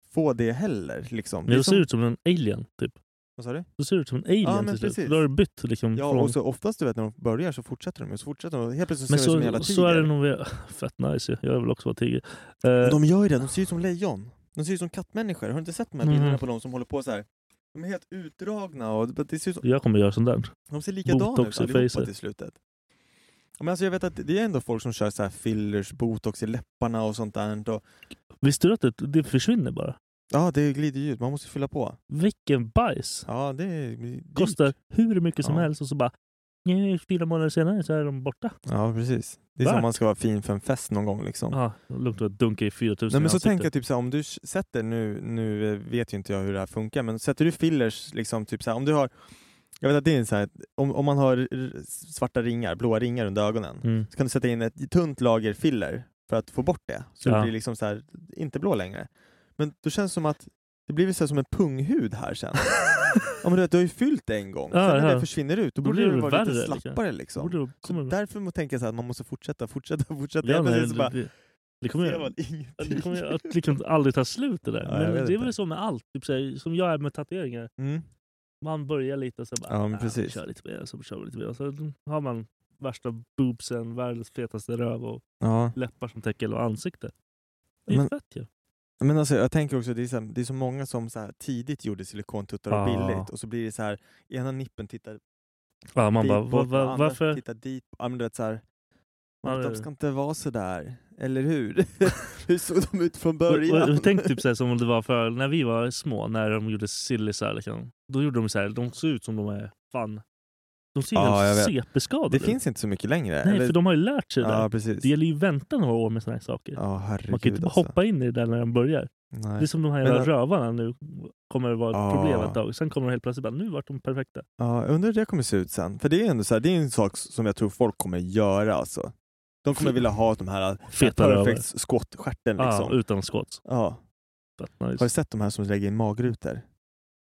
Speaker 6: få det heller. Liksom.
Speaker 3: Men
Speaker 6: är
Speaker 3: det ser
Speaker 6: som-
Speaker 3: ut som en alien, typ.
Speaker 6: Vad sa du?
Speaker 3: Det ser ut som en alien
Speaker 6: Ja, men
Speaker 3: till slut.
Speaker 6: precis.
Speaker 3: Då har du bytt liksom
Speaker 6: Ja,
Speaker 3: från...
Speaker 6: och så oftast du vet när de börjar så fortsätter de ju, så fortsätter de. Helt plötsligt
Speaker 3: men
Speaker 6: ser de ut som en
Speaker 3: så,
Speaker 6: jävla
Speaker 3: så är det
Speaker 6: tiger.
Speaker 3: nog... Fett nice ju. Jag vill också vara tiger. Eh,
Speaker 6: De gör ju det, de ser ut som lejon. De ser ut som kattmänniskor. Har du inte sett de här
Speaker 3: Mhm.
Speaker 6: bilderna på de som håller på så här? De är helt utdragna och det det ser ut som,
Speaker 3: Jag kommer göra sånt där.
Speaker 6: de ser likadana ut
Speaker 3: Botox i
Speaker 6: allihopa
Speaker 3: facer.
Speaker 6: till slutet. Ja, Men alltså jag vet att det är ändå folk som kör så här fillers, botox i läpparna och sånt där. Och,
Speaker 3: Visste du att det, det försvinner bara?
Speaker 6: ja, det glider ju ut. Man måste fylla på.
Speaker 3: Vilken bajs!
Speaker 6: Ja, det är dyrt.
Speaker 3: Kostar hur mycket som
Speaker 6: Ja.
Speaker 3: helst och så bara... "Nej, Fyra månader senare så är de borta.
Speaker 6: Ja, precis. Det är som
Speaker 3: Värt.
Speaker 6: om man ska vara fin för en fest någon gång liksom.
Speaker 3: Ja, lugnt att dunka i 4000 i
Speaker 6: Nej, men så
Speaker 3: ansiktet.
Speaker 6: tänker jag typ såhär, om du s- sätter nu, nu eh, vet ju inte jag hur det här funkar, men sätter du fillers liksom typ såhär, om du har, jag vet att det är en såhär, om, om man har r- svarta ringar, blåa ringar under ögonen,
Speaker 3: Mm.
Speaker 6: så kan du sätta in ett tunt lager filler för att få bort det, så
Speaker 3: Ja.
Speaker 6: det blir liksom såhär, inte blå längre. Men då känns det som att det blir väl såhär som en punghud här sen. ja men du vet, du har ju fyllt det en gång,
Speaker 3: Ja,
Speaker 6: sen när
Speaker 3: ja.
Speaker 6: det försvinner ut, då
Speaker 3: Då
Speaker 6: borde
Speaker 3: blir
Speaker 6: det
Speaker 3: det
Speaker 6: vara lite
Speaker 3: värre, liksom.
Speaker 6: slappare liksom.
Speaker 3: Borde det-
Speaker 6: Så
Speaker 3: kommer-
Speaker 6: därför må- tänker jag såhär, att man måste fortsätta, fortsätta, fortsätta.
Speaker 3: Ja,
Speaker 6: Helt
Speaker 3: nej,
Speaker 6: plötsligt så bara,
Speaker 3: det, det, det kommer
Speaker 6: ser
Speaker 3: jag...
Speaker 6: man ingenting.
Speaker 3: Det kommer ju att liksom aldrig ta slut det där.
Speaker 6: Ja, jag
Speaker 3: men
Speaker 6: vet
Speaker 3: det är
Speaker 6: inte.
Speaker 3: väl så med allt. Typ så här, som jag är med tatueringar.
Speaker 6: Mm.
Speaker 3: Man börjar lite och så bara...
Speaker 6: Ja, men
Speaker 3: "Ah,
Speaker 6: precis.
Speaker 3: Kör lite mer, så kör vi lite mer. Och Så har man värsta boobsen, världens fetaste röv och
Speaker 6: Ja,
Speaker 3: läppar som täcker hela ansiktet. Det är
Speaker 6: Men-
Speaker 3: fett ju.
Speaker 6: men alltså jag tänker också det är så, här, det är så många som så här, tidigt gjorde silikontuttar och
Speaker 3: Ja.
Speaker 6: billigt och så blir det så här ena nippen tittar
Speaker 3: Ja, man
Speaker 6: dit
Speaker 3: bara,
Speaker 6: bort
Speaker 3: va,
Speaker 6: och
Speaker 3: va,
Speaker 6: andra
Speaker 3: varför?
Speaker 6: tittar dit. Ja, men du vet så här, man,
Speaker 3: Ja,
Speaker 6: de
Speaker 3: det-
Speaker 6: ska inte vara så där, eller hur? hur såg de ut från
Speaker 3: Och-
Speaker 6: början?
Speaker 3: och Tänk typ så här, som om det var för när vi var små, när de gjorde sillisar. Liksom, då gjorde de så här, de såg ut som de är fan... De ser ju
Speaker 6: Ja, jag
Speaker 3: helt
Speaker 6: vet.
Speaker 3: CP-skadade
Speaker 6: det
Speaker 3: ut.
Speaker 6: finns inte så mycket längre.
Speaker 3: Nej,
Speaker 6: eller?
Speaker 3: för de har ju lärt sig det.
Speaker 6: Ja, precis.
Speaker 3: Det gäller ju att vänta några år med såna här saker.
Speaker 6: Ja, herregud
Speaker 3: Man kan ju inte bara
Speaker 6: alltså.
Speaker 3: hoppa in i det där när de börjar. Det är
Speaker 6: Nej.
Speaker 3: som de här
Speaker 6: Men- Ah.
Speaker 3: jävla rövarna nu kommer det vara ett
Speaker 6: Ja.
Speaker 3: problem ett tag. Sen kommer de helt plötsligt bara, nu vart de perfekta.
Speaker 6: Ja, jag undrar hur det kommer se ut sen. För det är ändå så här, det är en sak som jag tror folk kommer göra alltså. De kommer vilja ha de här
Speaker 3: Feta rövar.
Speaker 6: perfect squat-stjärten
Speaker 3: Ja,
Speaker 6: liksom.
Speaker 3: utan skott.
Speaker 6: Ja.
Speaker 3: Fett nice.
Speaker 6: Har du sett de här som lägger in magrutor?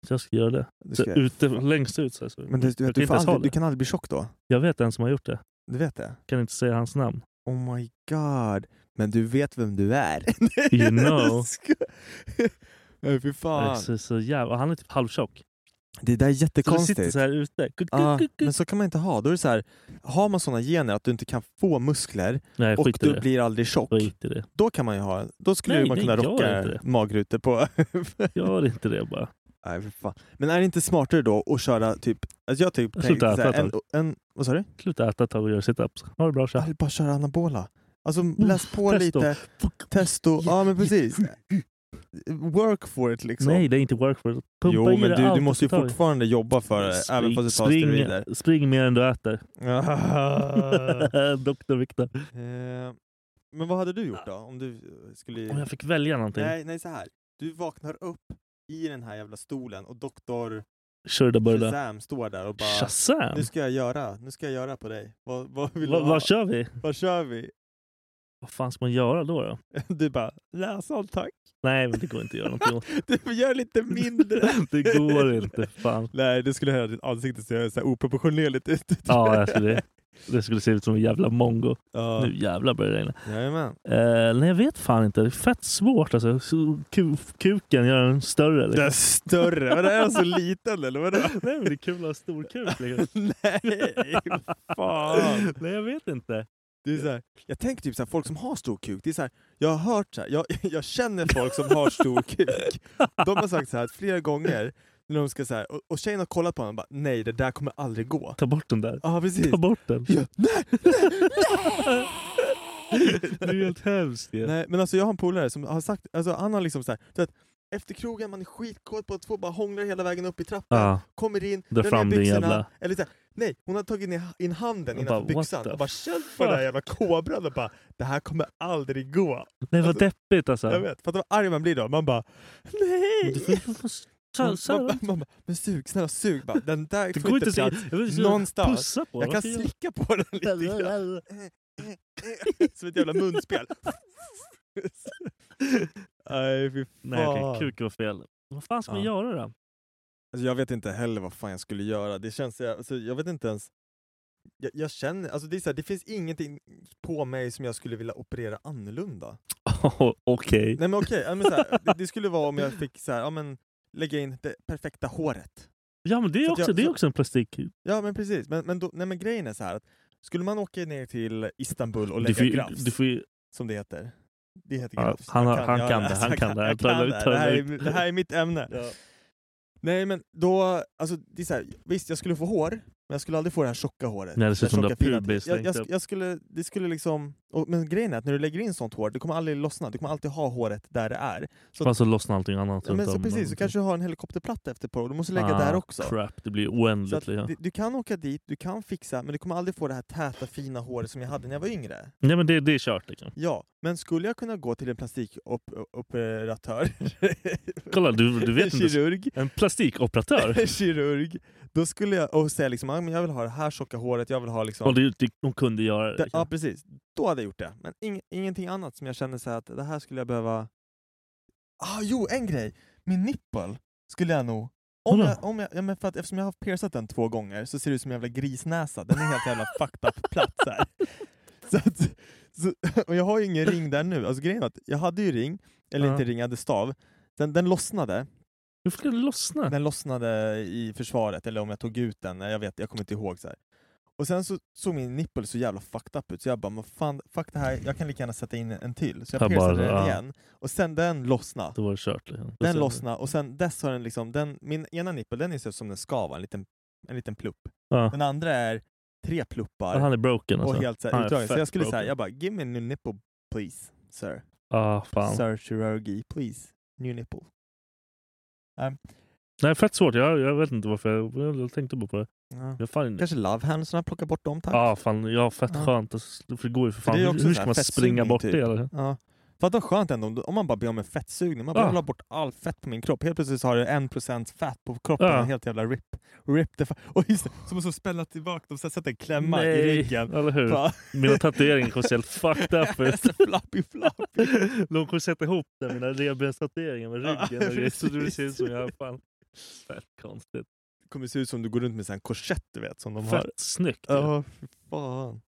Speaker 3: Så Jag ska göra det.
Speaker 6: Du
Speaker 3: Så
Speaker 6: ska-
Speaker 3: ute, längst ut så här. Så.
Speaker 6: Men du, du,
Speaker 3: jag
Speaker 6: vet,
Speaker 3: kan
Speaker 6: du,
Speaker 3: inte
Speaker 6: får
Speaker 3: ens ha
Speaker 6: aldrig,
Speaker 3: det.
Speaker 6: du kan aldrig bli tjock då?
Speaker 3: Jag vet en som har gjort det.
Speaker 6: Du vet det?
Speaker 3: Kan inte säga hans namn.
Speaker 6: Oh my god. Men du vet vem du är?
Speaker 3: You know.
Speaker 6: Nej
Speaker 3: Det
Speaker 6: fy
Speaker 3: är
Speaker 6: fan.
Speaker 3: Så, så jävla, och han är typ halvtjock.
Speaker 6: Det där
Speaker 3: Så
Speaker 6: är
Speaker 3: det sitter
Speaker 6: jättekonstigt.
Speaker 3: så här ute. Kuk,
Speaker 6: Ja,
Speaker 3: kuk, kuk,
Speaker 6: Ah, men
Speaker 3: kuk.
Speaker 6: så kan man inte ha. Då är det så här, har man sådana gener att du inte kan få muskler
Speaker 3: Nej,
Speaker 6: och
Speaker 3: skit i
Speaker 6: du
Speaker 3: det.
Speaker 6: blir aldrig tjock.
Speaker 3: Skit i det.
Speaker 6: Då kan man ju ha, då skulle
Speaker 3: Nej,
Speaker 6: man
Speaker 3: nej,
Speaker 6: kunna
Speaker 3: gör inte
Speaker 6: rocka
Speaker 3: det.
Speaker 6: magrutor på.
Speaker 3: Gör inte det bara.
Speaker 6: Nej, för fan. Men är det inte smartare då att köra typ, alltså jag typ
Speaker 3: Sluta
Speaker 6: tänkte så här,
Speaker 3: äta
Speaker 6: en,
Speaker 3: ett
Speaker 6: en, vad sa du?
Speaker 3: Sluta äta ett tag och göra situps. Ha det bra
Speaker 6: Jag
Speaker 3: tja.
Speaker 6: vill bara köra anabola. Alltså läs på
Speaker 3: Mm, testo.
Speaker 6: lite, testo, ja men precis. Work for it liksom.
Speaker 3: Nej, det är inte work for it. Pumpa
Speaker 6: jo
Speaker 3: i
Speaker 6: men
Speaker 3: det
Speaker 6: du, du
Speaker 3: allt
Speaker 6: måste ju
Speaker 3: du tar i.
Speaker 6: fortfarande jobba för det, även fast du tar steroider.
Speaker 3: spring, spring mer än du äter. Doktor Viktor.
Speaker 6: Eh, men vad hade du gjort då? Om du eh, skulle...
Speaker 3: Om jag fick välja någonting.
Speaker 6: Nej, nej så här. Du vaknar upp i den här jävla stolen och doktor
Speaker 3: Shurda Burda.
Speaker 6: Shazam står där och bara
Speaker 3: Shazam!
Speaker 6: Nu ska jag göra, nu ska jag göra på dig. Vad, vad vill
Speaker 3: Va,
Speaker 6: du ha?
Speaker 3: vad kör vi?
Speaker 6: Vad kör vi?
Speaker 3: Vad fan ska man göra då? då?
Speaker 6: Du bara, näsan tack.
Speaker 3: Nej, men det går inte att göra någonting åt.
Speaker 6: Du får göra lite mindre.
Speaker 3: det går inte. Fan.
Speaker 6: Nej, du skulle höra ditt ansikte se så här oproportionerligt ut.
Speaker 3: Ja, jag skulle, det skulle se ut som en jävla mongo.
Speaker 6: Ja,
Speaker 3: Nu jävlar börjar det regna.
Speaker 6: jajamän.
Speaker 3: Eh, nej, jag vet fan inte. Det är fett svårt alltså. Så ku- Kuken gör den större.
Speaker 6: Det
Speaker 3: Liksom.
Speaker 6: är större. Vadå, är den så liten eller vadå?
Speaker 3: Nej, men det är kul att ha stor kuk. Liksom.
Speaker 6: Nej, fan.
Speaker 3: nej, jag vet inte.
Speaker 6: Det är så här, jag tänker typ så här, folk som har stor kuk, det är så här, jag har hört så här, jag, jag känner folk som har stor kuk. De har sagt så här flera gånger, när de ska så här, och, och tjejen har kollat på honom och bara nej det där kommer aldrig gå.
Speaker 3: Ta bort den där.
Speaker 6: Ja precis.
Speaker 3: Ta bort den.
Speaker 6: Ja, nej,
Speaker 3: Det är helt hemskt ju.
Speaker 6: nej, men alltså jag har en polare som har sagt, alltså han har liksom så här, du vet, efter krogen man är skitkåt på att två bara hånglar hela vägen upp i trappan,
Speaker 3: Ja,
Speaker 6: kommer in,
Speaker 3: drar fram din
Speaker 6: byxorna,
Speaker 3: jävla-
Speaker 6: eller så här, Nej, hon hade tagit ner in handen
Speaker 3: Och
Speaker 6: innanför
Speaker 3: bara, what
Speaker 6: byxan
Speaker 3: the
Speaker 6: och bara känt på den här jävla kobran och bara det här kommer aldrig gå.
Speaker 3: Nej vad
Speaker 6: Alltså,
Speaker 3: deppigt alltså.
Speaker 6: Jag vet, fattar vad arg man blir då? Man bara nej!
Speaker 3: Du får- du får- så-
Speaker 6: Man,
Speaker 3: så-
Speaker 6: man, man bara, men sug, snälla sug bara. Den där
Speaker 3: Det
Speaker 6: får
Speaker 3: går inte
Speaker 6: inte
Speaker 3: att säga-
Speaker 6: plats
Speaker 3: jag vill säga
Speaker 6: någonstans.
Speaker 3: Pussa på
Speaker 6: Jag kan
Speaker 3: varför gör-
Speaker 6: slicka på den lite grann. Som ett jävla munspel. Nej fy fan.
Speaker 3: Nej okej, kuken var fel. Vad fan ska man
Speaker 6: Ja.
Speaker 3: göra då?
Speaker 6: Alltså, jag vet inte heller vad fan jag skulle göra. Det känns, alltså, jag vet inte ens. Jag, jag känner, alltså det är så här, det finns ingenting på mig som jag skulle vilja operera annorlunda.
Speaker 3: okej.
Speaker 6: Nej men okej, ja, men så här, det, det skulle vara om jag fick så här, ja, men, lägga in det perfekta håret.
Speaker 3: Ja men det är
Speaker 6: Så att
Speaker 3: också,
Speaker 6: jag-
Speaker 3: det är
Speaker 6: så-
Speaker 3: också en plastik.
Speaker 6: Ja men precis, men, men, då, nej, men grejen är så här att skulle man åka ner till Istanbul och
Speaker 3: Du
Speaker 6: lägga
Speaker 3: får, ju,
Speaker 6: grafs,
Speaker 3: du får ju,
Speaker 6: som det heter. Det heter
Speaker 3: Ja,
Speaker 6: grafs.
Speaker 3: han
Speaker 6: Jag
Speaker 3: har- han
Speaker 6: ja,
Speaker 3: kan det,
Speaker 6: alltså,
Speaker 3: han
Speaker 6: jag
Speaker 3: kan det.
Speaker 6: Jag
Speaker 3: Jag trollar
Speaker 6: kan
Speaker 3: ut,
Speaker 6: det. Det
Speaker 3: trollar
Speaker 6: här är,
Speaker 3: ut.
Speaker 6: det här är mitt ämne.
Speaker 3: Ja.
Speaker 6: Nej men då, alltså det är så här, visst jag skulle få hår, men jag skulle aldrig få det här tjocka håret.
Speaker 3: Nej, det ser
Speaker 6: här
Speaker 3: ut som du
Speaker 6: tjocka,
Speaker 3: har
Speaker 6: fina-
Speaker 3: pubis
Speaker 6: jag,
Speaker 3: längt
Speaker 6: jag,
Speaker 3: upp.
Speaker 6: sk- jag skulle, det skulle liksom, och, men grejen är att när du lägger in sånt hår, det kommer aldrig lossna, du kommer alltid ha håret där det är. Så,
Speaker 3: fast så lossnar allting annat
Speaker 6: ja, men
Speaker 3: runt
Speaker 6: så
Speaker 3: om.
Speaker 6: precis, så kanske du har en helikopterplatta efter på och du måste lägga
Speaker 3: typ. Ah,
Speaker 6: där också.
Speaker 3: Crap, det blir
Speaker 6: Så att,
Speaker 3: oändligt. liksom.
Speaker 6: du, du kan åka dit, du kan fixa, men du kommer aldrig få det här täta fina håret som jag hade när jag var yngre.
Speaker 3: Nej men det, det är kört liksom.
Speaker 6: Ja, men skulle jag kunna gå till en plastikoperatör,
Speaker 3: Kolla, du, du
Speaker 6: en
Speaker 3: vet inte.
Speaker 6: kirurg,
Speaker 3: En plastikoperatör.
Speaker 6: en kirurg, då skulle jag och säga liksom, "Ah, men jag vill ha det här tjocka håret, jag vill ha liksom...
Speaker 3: Och det, det, de kunde göra det.
Speaker 6: det, ja,
Speaker 3: Liksom.
Speaker 6: precis. Då hade jag gjort det. Men ing, ingenting annat som jag känner så här att det här skulle jag behöva... Ah, jo, en grej! Min nipple skulle jag nog... Om
Speaker 3: Vadå?
Speaker 6: jag, om jag, ja, men för att eftersom jag har piercat den två gånger så ser det ut som en jävla grisnäsa. Den är helt jävla fucked up platt så här. Så att, så, och jag har ju ingen ring där nu. Alltså grejen är att jag hade ju ring, eller
Speaker 3: Ja.
Speaker 6: inte ring, jag hade stav. Den, den lossnade.
Speaker 3: Hur ska det lossna?
Speaker 6: Den lossnade i försvaret, eller om jag tog ut den, jag vet jag kommer inte ihåg. så här. Och sen så såg min nippel så jävla fucked up ut, så jag bara, men fan, fuck det här, jag kan lika gärna sätta in en till. Så jag
Speaker 3: Jag bara,
Speaker 6: piercade den
Speaker 3: ja.
Speaker 6: igen, och sen den lossnade.
Speaker 3: Då var det kört. Liksom.
Speaker 6: Den lossnade, och sen dess har den liksom, den, min ena nippel den är så som den ska vara, en liten, en liten plupp.
Speaker 3: Ja.
Speaker 6: Den andra är tre pluppar
Speaker 3: Han är broken
Speaker 6: och
Speaker 3: alltså.
Speaker 6: helt så
Speaker 3: han
Speaker 6: här,
Speaker 3: är
Speaker 6: utdragen. Så
Speaker 3: fett
Speaker 6: jag skulle säga,
Speaker 3: broken.
Speaker 6: jag bara, give me a new nipple please, sir.
Speaker 3: Ah, fan.
Speaker 6: Sir kirurgi, please. New nipple.
Speaker 3: Nej, fett svårt. Jag, jag vet inte varför. Jag, jag, jag tänkte bara på det.
Speaker 6: Ja.
Speaker 3: Jag fan,
Speaker 6: Kanske love hands, plocka bort dem tack.
Speaker 3: Ja, fan. Ja, fett
Speaker 6: Ja.
Speaker 3: skönt. Alltså, för det går ju för fan.
Speaker 6: det är ju
Speaker 3: Hur-
Speaker 6: också
Speaker 3: Hur
Speaker 6: så
Speaker 3: ska
Speaker 6: här
Speaker 3: man springa
Speaker 6: fettsugning
Speaker 3: bort
Speaker 6: typ.
Speaker 3: det? Eller?
Speaker 6: Ja. Fatta vad skönt ändå om- om man bara blir av med fettsugning. Man bara
Speaker 3: Ja.
Speaker 6: vill ha bort all fett på min kropp. Helt plötsligt så har jag en procent fett på kroppen.
Speaker 3: Ja.
Speaker 6: Och helt jävla rip. rip the fa- och just det, som att spänna tillbaka dem. Sen sätter en klämma i ryggen.
Speaker 3: eller hur?
Speaker 6: Fan. Alltså,
Speaker 3: Mina tatueringar kommer se helt fucked up ut.
Speaker 6: Så floppy floppy.
Speaker 3: De kommer sätta ihop det, mina revbenstatueringar med
Speaker 6: Ja,
Speaker 3: ryggen. och grejer, så det
Speaker 6: precis.
Speaker 3: ser ut som jag fan. Fett konstigt.
Speaker 6: Det kommer se ut som du går runt med en sån här korsett du vet. Som de har.
Speaker 3: Fett snyggt. ju.
Speaker 6: Ja, fy fan.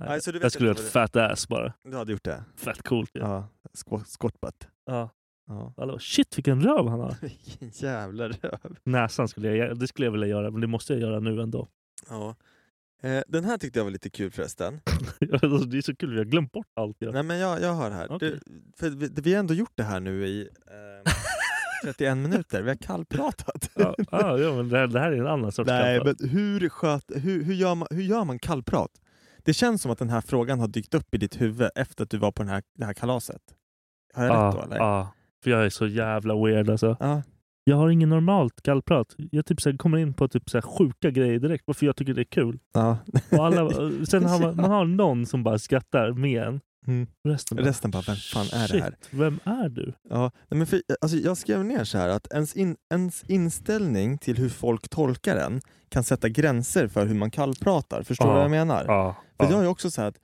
Speaker 3: Nej,
Speaker 6: nej, så du vet
Speaker 3: jag skulle
Speaker 6: inte
Speaker 3: göra ett fat ass bara.
Speaker 6: Du hade gjort det?
Speaker 3: Fett coolt ju.
Speaker 6: Ja. Squat- Squat butt.
Speaker 3: Ja.
Speaker 6: Ja.
Speaker 3: Alla bara, Shit vilken röv han har.
Speaker 6: Vilken jävla röv.
Speaker 3: Näsan skulle jag, det skulle jag vilja göra, men det måste jag göra nu ändå.
Speaker 6: Ja. Eh, Den här tyckte jag var lite kul förresten.
Speaker 3: Alltså, det är så kul, vi har glömt bort allt. idag.
Speaker 6: Nej men jag, jag har här.
Speaker 3: Okej.
Speaker 6: Du, för vi, vi har ändå gjort det här nu i eh, 31 minuter. Vi har kallpratat.
Speaker 3: Ja, ja, ja, men det, här, det här är en annan sorts
Speaker 6: Nej
Speaker 3: kamp.
Speaker 6: men hur, sköt, hur, hur, gör man, hur gör man kallprat? Det känns som att den här frågan har dykt upp i ditt huvud efter att du var på den här, det här kalaset. Har jag
Speaker 3: Ja,
Speaker 6: rätt då eller?
Speaker 3: ja. Ah, för jag är så jävla weird alltså.
Speaker 6: Ja.
Speaker 3: Jag har ingen normalt kallprat. Jag typ så här, kommer in på typ så här, sjuka grejer direkt, bara för jag tycker det är kul.
Speaker 6: ja.
Speaker 3: Och alla, sen har man, man har någon som bara skrattar med en.
Speaker 6: Mm.
Speaker 3: Resten, bara,
Speaker 6: Resten bara, vem fan är det här?
Speaker 3: "Shit, Vem är du?
Speaker 6: Ja, nej men för, alltså jag skrev ner så här att ens, in, ens inställning till hur folk tolkar en kan sätta gränser för hur man kallpratar. Förstår du
Speaker 3: Ja.
Speaker 6: vad jag menar?
Speaker 3: Ja,
Speaker 6: För
Speaker 3: ja.
Speaker 6: jag är också så här att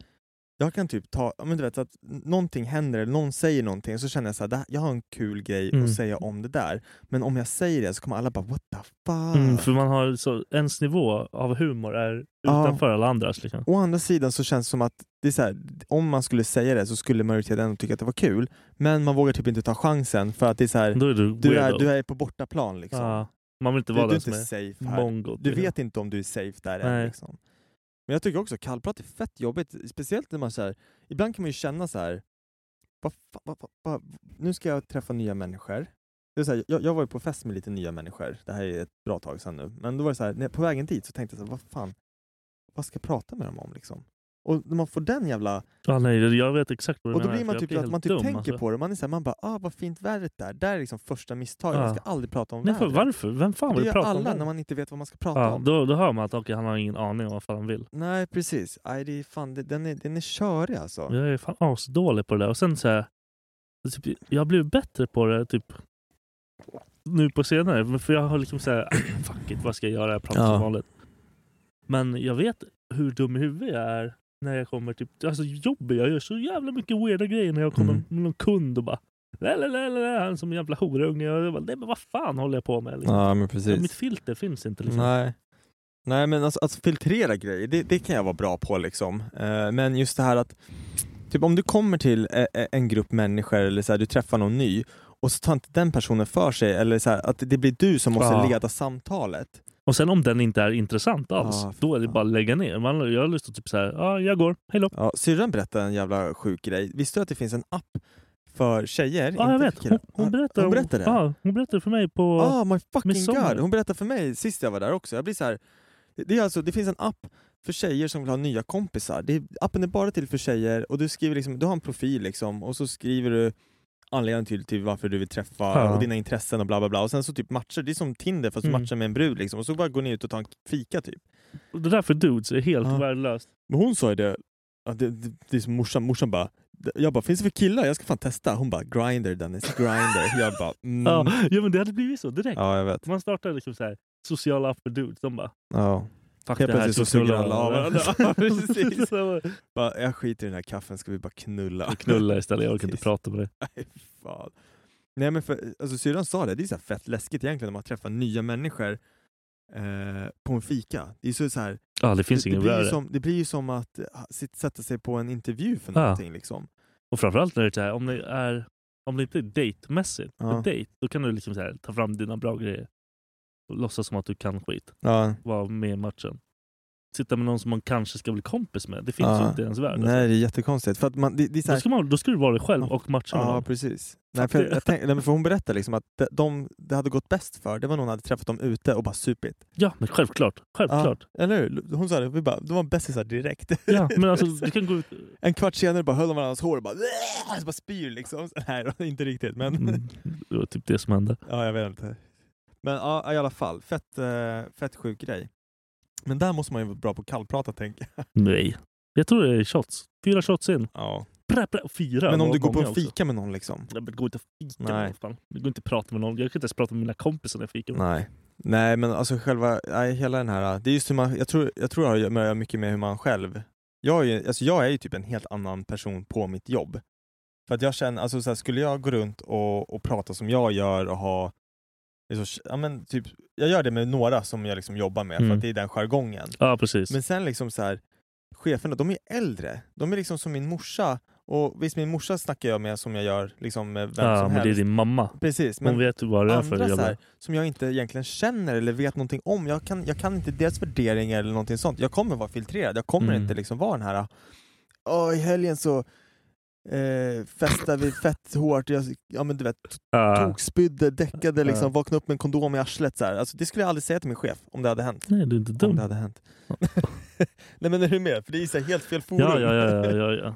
Speaker 6: jag kan typ ta, ja, men du vet så att någonting händer eller någon säger någonting så känner jag så här, "Det här, jag har en kul grej
Speaker 3: Mm.
Speaker 6: att säga om det där. Men om jag säger det så kommer alla bara what the fuck.
Speaker 3: Mm, för man har så, ens nivå av humor är
Speaker 6: Ja.
Speaker 3: utanför alla andras. Liksom.
Speaker 6: Å andra sidan så känns det som att det är så här, om man skulle säga det så skulle majoriteten ändå tycka att det var kul. Men man vågar typ inte ta chansen för att det är så här,
Speaker 3: Då är du,
Speaker 6: du är,
Speaker 3: weirdo.
Speaker 6: du är på bortaplan liksom.
Speaker 3: Ja, man vill inte
Speaker 6: Du,
Speaker 3: vara
Speaker 6: du är
Speaker 3: den
Speaker 6: inte
Speaker 3: som är
Speaker 6: safe här.
Speaker 3: mongo.
Speaker 6: Du
Speaker 3: liksom.
Speaker 6: vet inte om du är safe där än.
Speaker 3: Nej.
Speaker 6: Liksom. Men jag tycker också kallprat är fett jobbigt. Speciellt när man så här, ibland kan man ju känna så här, vad fa- vad fa- vad- nu ska jag träffa nya människor. Det är så här, jag, jag var ju på fest med lite nya människor, det här är ett bra tag sedan nu. Men då var det så här, när, på vägen dit så tänkte jag så här, vad fan, vad ska jag prata med dem om liksom? Och när man får den jävla...
Speaker 3: Ja, Ah, nej, jag vet exakt vad du
Speaker 6: Och då
Speaker 3: menar,
Speaker 6: blir man
Speaker 3: för jag
Speaker 6: typ att man typ
Speaker 3: helt dum,
Speaker 6: tänker
Speaker 3: alltså.
Speaker 6: på det. Man är såhär, man bara ah vad fint vädret där. Där är liksom första misstaget.
Speaker 3: Ja.
Speaker 6: Man ska aldrig prata om
Speaker 3: Nej, för
Speaker 6: vädret.
Speaker 3: varför? Vem fan
Speaker 6: det
Speaker 3: vill
Speaker 6: gör
Speaker 3: prata om
Speaker 6: alla
Speaker 3: det?
Speaker 6: när man inte vet vad man ska prata
Speaker 3: Ja,
Speaker 6: om.
Speaker 3: då, då hör man att okej, han har ingen aning om vad fan han vill.
Speaker 6: Nej precis. Aj, det är fan, det, den, är, den är körig alltså.
Speaker 3: Jag är fan asdålig på det där. Och sen så här, typ, jag har blivit bättre på det typ nu på senare. Men För jag har liksom så här, fuck it, vad ska jag göra? Jag pratar
Speaker 6: Ja.
Speaker 3: som vanligt. Men jag vet hur dum i huvudet jag är när jag kommer typ, alltså jobbet, jag gör så jävla mycket weirda grejer när jag kommer
Speaker 6: Mm.
Speaker 3: med någon kund och bara la, la, la, la, la, han är som en jävla horunge. Och jag bara, nej men vad fan håller jag på med? Liksom.
Speaker 6: Ja men precis.
Speaker 3: Mitt filter finns inte liksom.
Speaker 6: Nej. Nej men alltså, att filtrera grejer, det, det kan jag vara bra på liksom. Eh, men just det här att, typ om du kommer till eh, eh, en grupp människor eller så här, du träffar någon ny och så tar inte den personen för sig, eller så här, att det blir du som måste
Speaker 3: Ja.
Speaker 6: leda samtalet.
Speaker 3: Och sen om den inte är intressant alls,
Speaker 6: Ja,
Speaker 3: då är det bara att lägga ner. Man, jag har lust att typ såhär, ja ah, jag går, hejdå.
Speaker 6: Ja, syrran berättade en jävla sjuk grej. Visste du att det finns en app för tjejer?
Speaker 3: Ja, jag
Speaker 6: Inte
Speaker 3: vet.
Speaker 6: för
Speaker 3: Hon,
Speaker 6: killar.
Speaker 3: hon berättade.
Speaker 6: hon berättade det?
Speaker 3: Ja, hon berättade för mig på...
Speaker 6: Ah, my fucking
Speaker 3: midsommar.
Speaker 6: god! Hon berättade för mig sist jag var där också. Jag blir så här, det, är alltså, det finns en app för tjejer som vill ha nya kompisar. Det, är- appen är bara till för tjejer och du skriver liksom, du har en profil liksom och så skriver du anledningen till, till varför du vill träffa
Speaker 3: Ja.
Speaker 6: och dina intressen och bla bla bla. Och sen så typ matchar, det är som Tinder fast
Speaker 3: Mm.
Speaker 6: du matchar med en brud liksom och så bara går ni ut och tar en fika typ.
Speaker 3: Det där för dudes är helt
Speaker 6: Ja.
Speaker 3: värdelöst.
Speaker 6: Men hon sa ju det, ja, det, det, det är som morsan, morsan bara jag bara, finns det för killar? Jag ska fan testa. Hon bara, grinder Dennis, grinder. Jag bara, mm.
Speaker 3: Ja, ja, men det hade blivit så direkt.
Speaker 6: ja jag vet.
Speaker 3: Man startar liksom så här, sociala app för dudes. De bara,
Speaker 6: Ja.
Speaker 3: fuck
Speaker 6: Helt
Speaker 3: det här
Speaker 6: plötsligt så suger alla av varandra. Ja, precis.
Speaker 3: Så bara,
Speaker 6: Bara, jag skiter i den här kaffen, ska vi bara knulla?
Speaker 3: Knulla istället, jag orkar inte
Speaker 6: Precis.
Speaker 3: prata med dig.
Speaker 6: Nej, fan. Nej men för, alltså syrran sa det, det är så här fett läskigt egentligen när man träffar nya människor eh, på en fika. Det är så, så här,
Speaker 3: Ja, det finns
Speaker 6: det, det,
Speaker 3: ingen
Speaker 6: blir ju
Speaker 3: värre.
Speaker 6: som, det blir ju som att eh, sitt- sätta sig på en intervju för
Speaker 3: Ja.
Speaker 6: någonting liksom.
Speaker 3: Och framförallt när det är så här, om det är om det inte är dejtmässigt,
Speaker 6: Ja.
Speaker 3: för dejt, då kan du liksom så här, ta fram dina bra grejer och låtsas som att du kan skit.
Speaker 6: Ja.
Speaker 3: Vara med i matchen. Sitta med någon som man kanske ska bli kompis med. Det finns ju
Speaker 6: Ja.
Speaker 3: inte i ens värld.
Speaker 6: Nej det är jättekonstigt. För att man, det, det är så
Speaker 3: Då
Speaker 6: här,
Speaker 3: ska, man, då ska du vara dig själv och matcha med
Speaker 6: Ja,
Speaker 3: någon.
Speaker 6: precis. Nej, för, jag, jag tänk, nej, men för hon berättade liksom att de, de, det hade gått bäst för, det var när hon hade träffat dem ute och bara supit.
Speaker 3: Ja, men självklart. Självklart.
Speaker 6: Ja, eller hur? Hon sa det, vi bara, de var bästisar direkt.
Speaker 3: Ja, men alltså du kan gå ut...
Speaker 6: En kvart senare bara höll de varandras hår och bara, "Åh!" så bara spyr liksom. Så- Nej, det var inte riktigt men...
Speaker 3: Mm, Det var typ det som hände.
Speaker 6: Ja, jag vet inte. Men ja, i alla fall. Fett, eh, fett sjuk grej. Men där måste man ju vara bra på kallprata tänker jag.
Speaker 3: Nej. Jag tror det är shots. Fyra shots in.
Speaker 6: Ja.
Speaker 3: Bra, bra, fyra.
Speaker 6: Men om
Speaker 3: var
Speaker 6: du går på
Speaker 3: många
Speaker 6: en
Speaker 3: också.
Speaker 6: fika med någon liksom?
Speaker 3: Nej, men Det går inte att fika med
Speaker 6: Nej.
Speaker 3: någon. Fan. Det går inte att prata med någon. Jag kan inte ens prata med mina kompisar när jag fikar.
Speaker 6: Nej. Nej men alltså själva, nej, hela den här, det är just hur man, jag tror, jag tror det har att göra med- mycket med hur man själv, jag är, ju- alltså jag är ju typ en helt annan person på mitt jobb. För att jag känner, alltså så här, skulle jag gå runt och, och prata som jag gör och ha, liksom, ja, men typ, jag gör det med några som jag liksom jobbar med för
Speaker 3: Mm.
Speaker 6: att det är den jargongen.
Speaker 3: Ja, precis.
Speaker 6: Men sen liksom så här, cheferna, de är äldre. De är liksom som min morsa. Och visst, min morsa snackar jag med som jag gör liksom med vem
Speaker 3: ja,
Speaker 6: som
Speaker 3: men
Speaker 6: helst.
Speaker 3: det är din mamma.
Speaker 6: Precis,
Speaker 3: Hon
Speaker 6: men
Speaker 3: vet vad det är för
Speaker 6: andra så
Speaker 3: jävla-
Speaker 6: här, som jag inte egentligen känner eller vet någonting om. Jag kan, jag kan inte deras värderingar eller någonting sånt. Jag kommer vara filtrerad. Jag kommer
Speaker 3: Mm.
Speaker 6: inte liksom vara den här Åh, i helgen så eh, festar vi fett hårt. Jag, ja men du vet,
Speaker 3: Ja.
Speaker 6: tokspydde, däckade liksom,
Speaker 3: Ja.
Speaker 6: vaknade upp med en kondom i arslet så här. Alltså det skulle jag aldrig säga till min chef om det hade hänt.
Speaker 3: Nej, du är inte
Speaker 6: Om
Speaker 3: dum.
Speaker 6: det hade hänt. Nej men är du med? För det är ju så här helt fel forum.
Speaker 3: Ja, ja, ja, ja, ja, ja.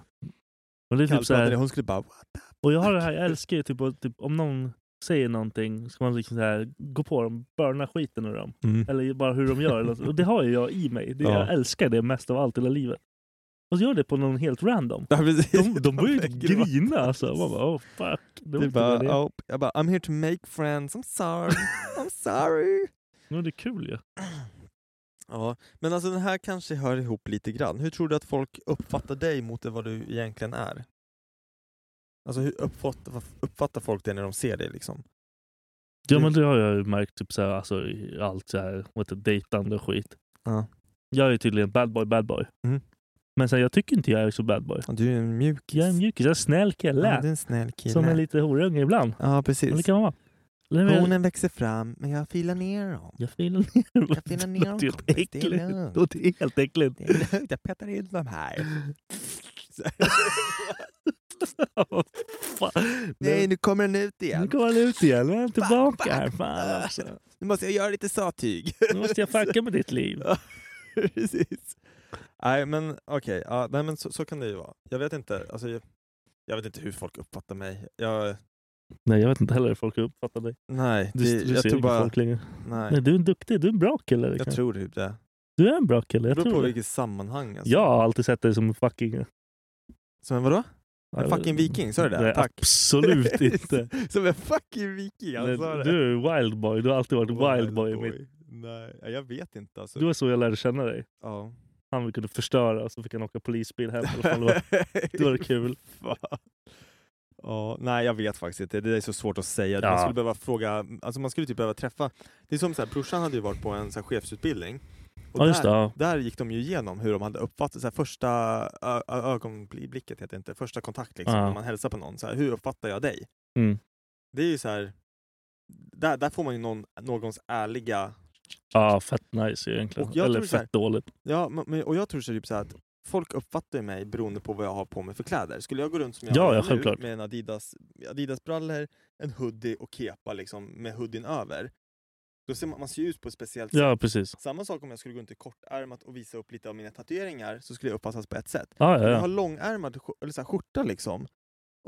Speaker 3: Men det är typ så
Speaker 6: Kallpratade,
Speaker 3: här,
Speaker 6: Hon skulle bara What?
Speaker 3: och jag har det här, jag älskar ju typ, att- typ om någon säger någonting ska man liksom så här, gå på dem, burna skiten ur dem. Eller bara hur de gör. eller något. Och det har ju jag i mig. Det,
Speaker 6: Ja.
Speaker 3: Jag älskar det mest av allt i hela livet. Och så gör det på någon helt random.
Speaker 6: Ja, precis.
Speaker 3: De, de börjar ju typ
Speaker 6: vägrar vara-
Speaker 3: grina alltså. Man bara oh fuck. Det var
Speaker 6: Det är
Speaker 3: inte vad det
Speaker 6: bara,
Speaker 3: är.
Speaker 6: oh, jag bara, I'm here to make friends, I'm sorry, I'm sorry.
Speaker 3: Men det är kul ju.
Speaker 6: Ja, men alltså den här kanske hör ihop lite grann. Hur tror du att folk uppfattar dig mot vad du egentligen är? Alltså hur uppfattar, uppfattar folk det när de ser dig liksom?
Speaker 3: Ja men det har jag ju märkt typ såhär, alltså, i allt så här, vet du, dejtande och skit.
Speaker 6: Ja.
Speaker 3: Jag är tydligen bad boy, bad boy.
Speaker 6: Mm.
Speaker 3: Men sen, jag tycker inte jag är så bad boy.
Speaker 6: Ja, Du är en mjukis.
Speaker 3: Jag är en mjukis, jag är en snäll
Speaker 6: Ja, du är
Speaker 3: kille.
Speaker 6: en snäll kille.
Speaker 3: som är lite horunge ibland.
Speaker 6: Ja,
Speaker 3: Men det
Speaker 6: precis.
Speaker 3: kan man vara. Nej, men jag-
Speaker 6: Hornen växer fram, men jag filar ner dem.
Speaker 3: Jag filar ner
Speaker 6: Jag filar ner dem,
Speaker 3: Det är
Speaker 6: kompis.
Speaker 3: helt
Speaker 6: Det är
Speaker 3: äckligt.
Speaker 6: lugnt.
Speaker 3: Det är helt äckligt.
Speaker 6: Det är lugnt, jag petar in dem här.
Speaker 3: Vad fan.
Speaker 6: Nej, nu kommer den ut
Speaker 3: nu
Speaker 6: igen.
Speaker 3: kommer han ut igen. Nu är han tillbaka
Speaker 6: fuck.
Speaker 3: här. Fan alltså. också.
Speaker 6: Nu måste jag göra lite sattyg.
Speaker 3: Nu måste jag fucka med ditt liv.
Speaker 6: Precis. Nej men okej, ja, nej, men så, så kan det ju vara. Jag vet inte, alltså, jag, jag vet inte hur folk uppfattar mig. Jag,
Speaker 3: Nej, jag vet inte heller hur folk uppfattar dig.
Speaker 6: nej,
Speaker 3: Du,
Speaker 6: det-
Speaker 3: du
Speaker 6: jag
Speaker 3: ser
Speaker 6: tror
Speaker 3: inte
Speaker 6: bara...
Speaker 3: folk längre.
Speaker 6: Nej,
Speaker 3: Nej, du är en duktig, du är en bra kille. det kan
Speaker 6: jag tror typ det.
Speaker 3: Du är en bra kille,
Speaker 6: Det
Speaker 3: jag
Speaker 6: beror på
Speaker 3: tror det.
Speaker 6: vilket sammanhang. Alltså.
Speaker 3: Jag har alltid sett dig som en fucking...
Speaker 6: Som en vadå? En fucking viking, sa du det?
Speaker 3: Nej,
Speaker 6: Tack.
Speaker 3: absolut inte.
Speaker 6: Som en fucking viking, han
Speaker 3: Nej,
Speaker 6: sa det.
Speaker 3: du är wildboy, du har alltid varit wildboy. i mitt-
Speaker 6: Nej, ja, jag vet inte alltså.
Speaker 3: Det var så jag lärde känna dig.
Speaker 6: Ja.
Speaker 3: Han kunde förstöra och så fick han åka polisbil hem. Eller vad fan det var. Det var kul.
Speaker 6: Fan. Ja, nej jag vet faktiskt inte, det är så svårt att säga. Man
Speaker 3: Ja.
Speaker 6: skulle behöva fråga, alltså man skulle typ behöva träffa, det är som så här, brorsan hade ju varit på en så här, chefsutbildning. Och
Speaker 3: Ja, just det.
Speaker 6: där,
Speaker 3: Ja.
Speaker 6: där gick de ju igenom hur de hade uppfattat så här, första ö- ö- ögonblicket, heter det inte, första kontakt liksom,
Speaker 3: Ja.
Speaker 6: när man hälsar på någon. Så här, hur uppfattar jag dig?
Speaker 3: Mm.
Speaker 6: Det är ju så här, där, där får man ju någon, någons ärliga
Speaker 3: ja, fett nice egentligen.
Speaker 6: Och jag
Speaker 3: Eller
Speaker 6: tror så här-
Speaker 3: fett dåligt.
Speaker 6: Ja, men- men, och jag tror så typ så här att folk uppfattar ju mig beroende på vad jag har på mig för kläder. Skulle jag gå runt som jag
Speaker 3: Ja,
Speaker 6: gör
Speaker 3: ja,
Speaker 6: nu,
Speaker 3: självklart.
Speaker 6: med en Adidas, Adidas brallor, en hoodie och kepa liksom, med hoodien över, då ser man, man ser ju ut på ett speciellt sätt.
Speaker 3: Ja, precis.
Speaker 6: Samma sak om jag skulle gå runt i kortärmat och visa upp lite av mina tatueringar så skulle jag uppfattas på ett sätt.
Speaker 3: Ja, ja,
Speaker 6: Om jag har
Speaker 3: ja.
Speaker 6: långärmad sk- eller så här, skjorta liksom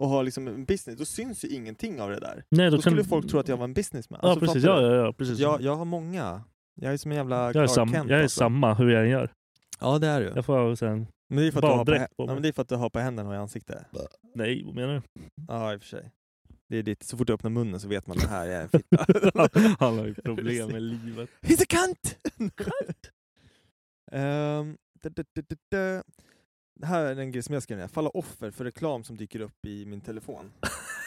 Speaker 6: och har liksom en business, då syns ju ingenting av det där.
Speaker 3: Nej,
Speaker 6: Då skulle folk tro att jag var en businessman.
Speaker 3: Ja,
Speaker 6: Alltså,
Speaker 3: precis.
Speaker 6: fattar
Speaker 3: Ja,
Speaker 6: du?
Speaker 3: ja, ja, precis.
Speaker 6: Jag, jag har många. Jag är som en jävla
Speaker 3: Jag är,
Speaker 6: Clark
Speaker 3: sam,
Speaker 6: Kent,
Speaker 3: jag är
Speaker 6: alltså.
Speaker 3: samma hur jag än gör.
Speaker 6: Ja, det är du.
Speaker 3: Jag får sen...
Speaker 6: Men det är för att, du har, på,
Speaker 3: Baddräkt
Speaker 6: hä-
Speaker 3: på mig.
Speaker 6: ja, men det är för att du har på händerna och i ansiktet.
Speaker 3: Nej, vad menar du?
Speaker 6: Ja, i och för sig. Det är ditt, så fort du öppnar munnen så vet man det här är en fitta.
Speaker 3: Han har ju problem med livet.
Speaker 6: He's a cunt! Ehm, da, da, da, da, da. Det här är en grej som jag skrev ner. Falla offer för reklam som dyker upp i min telefon.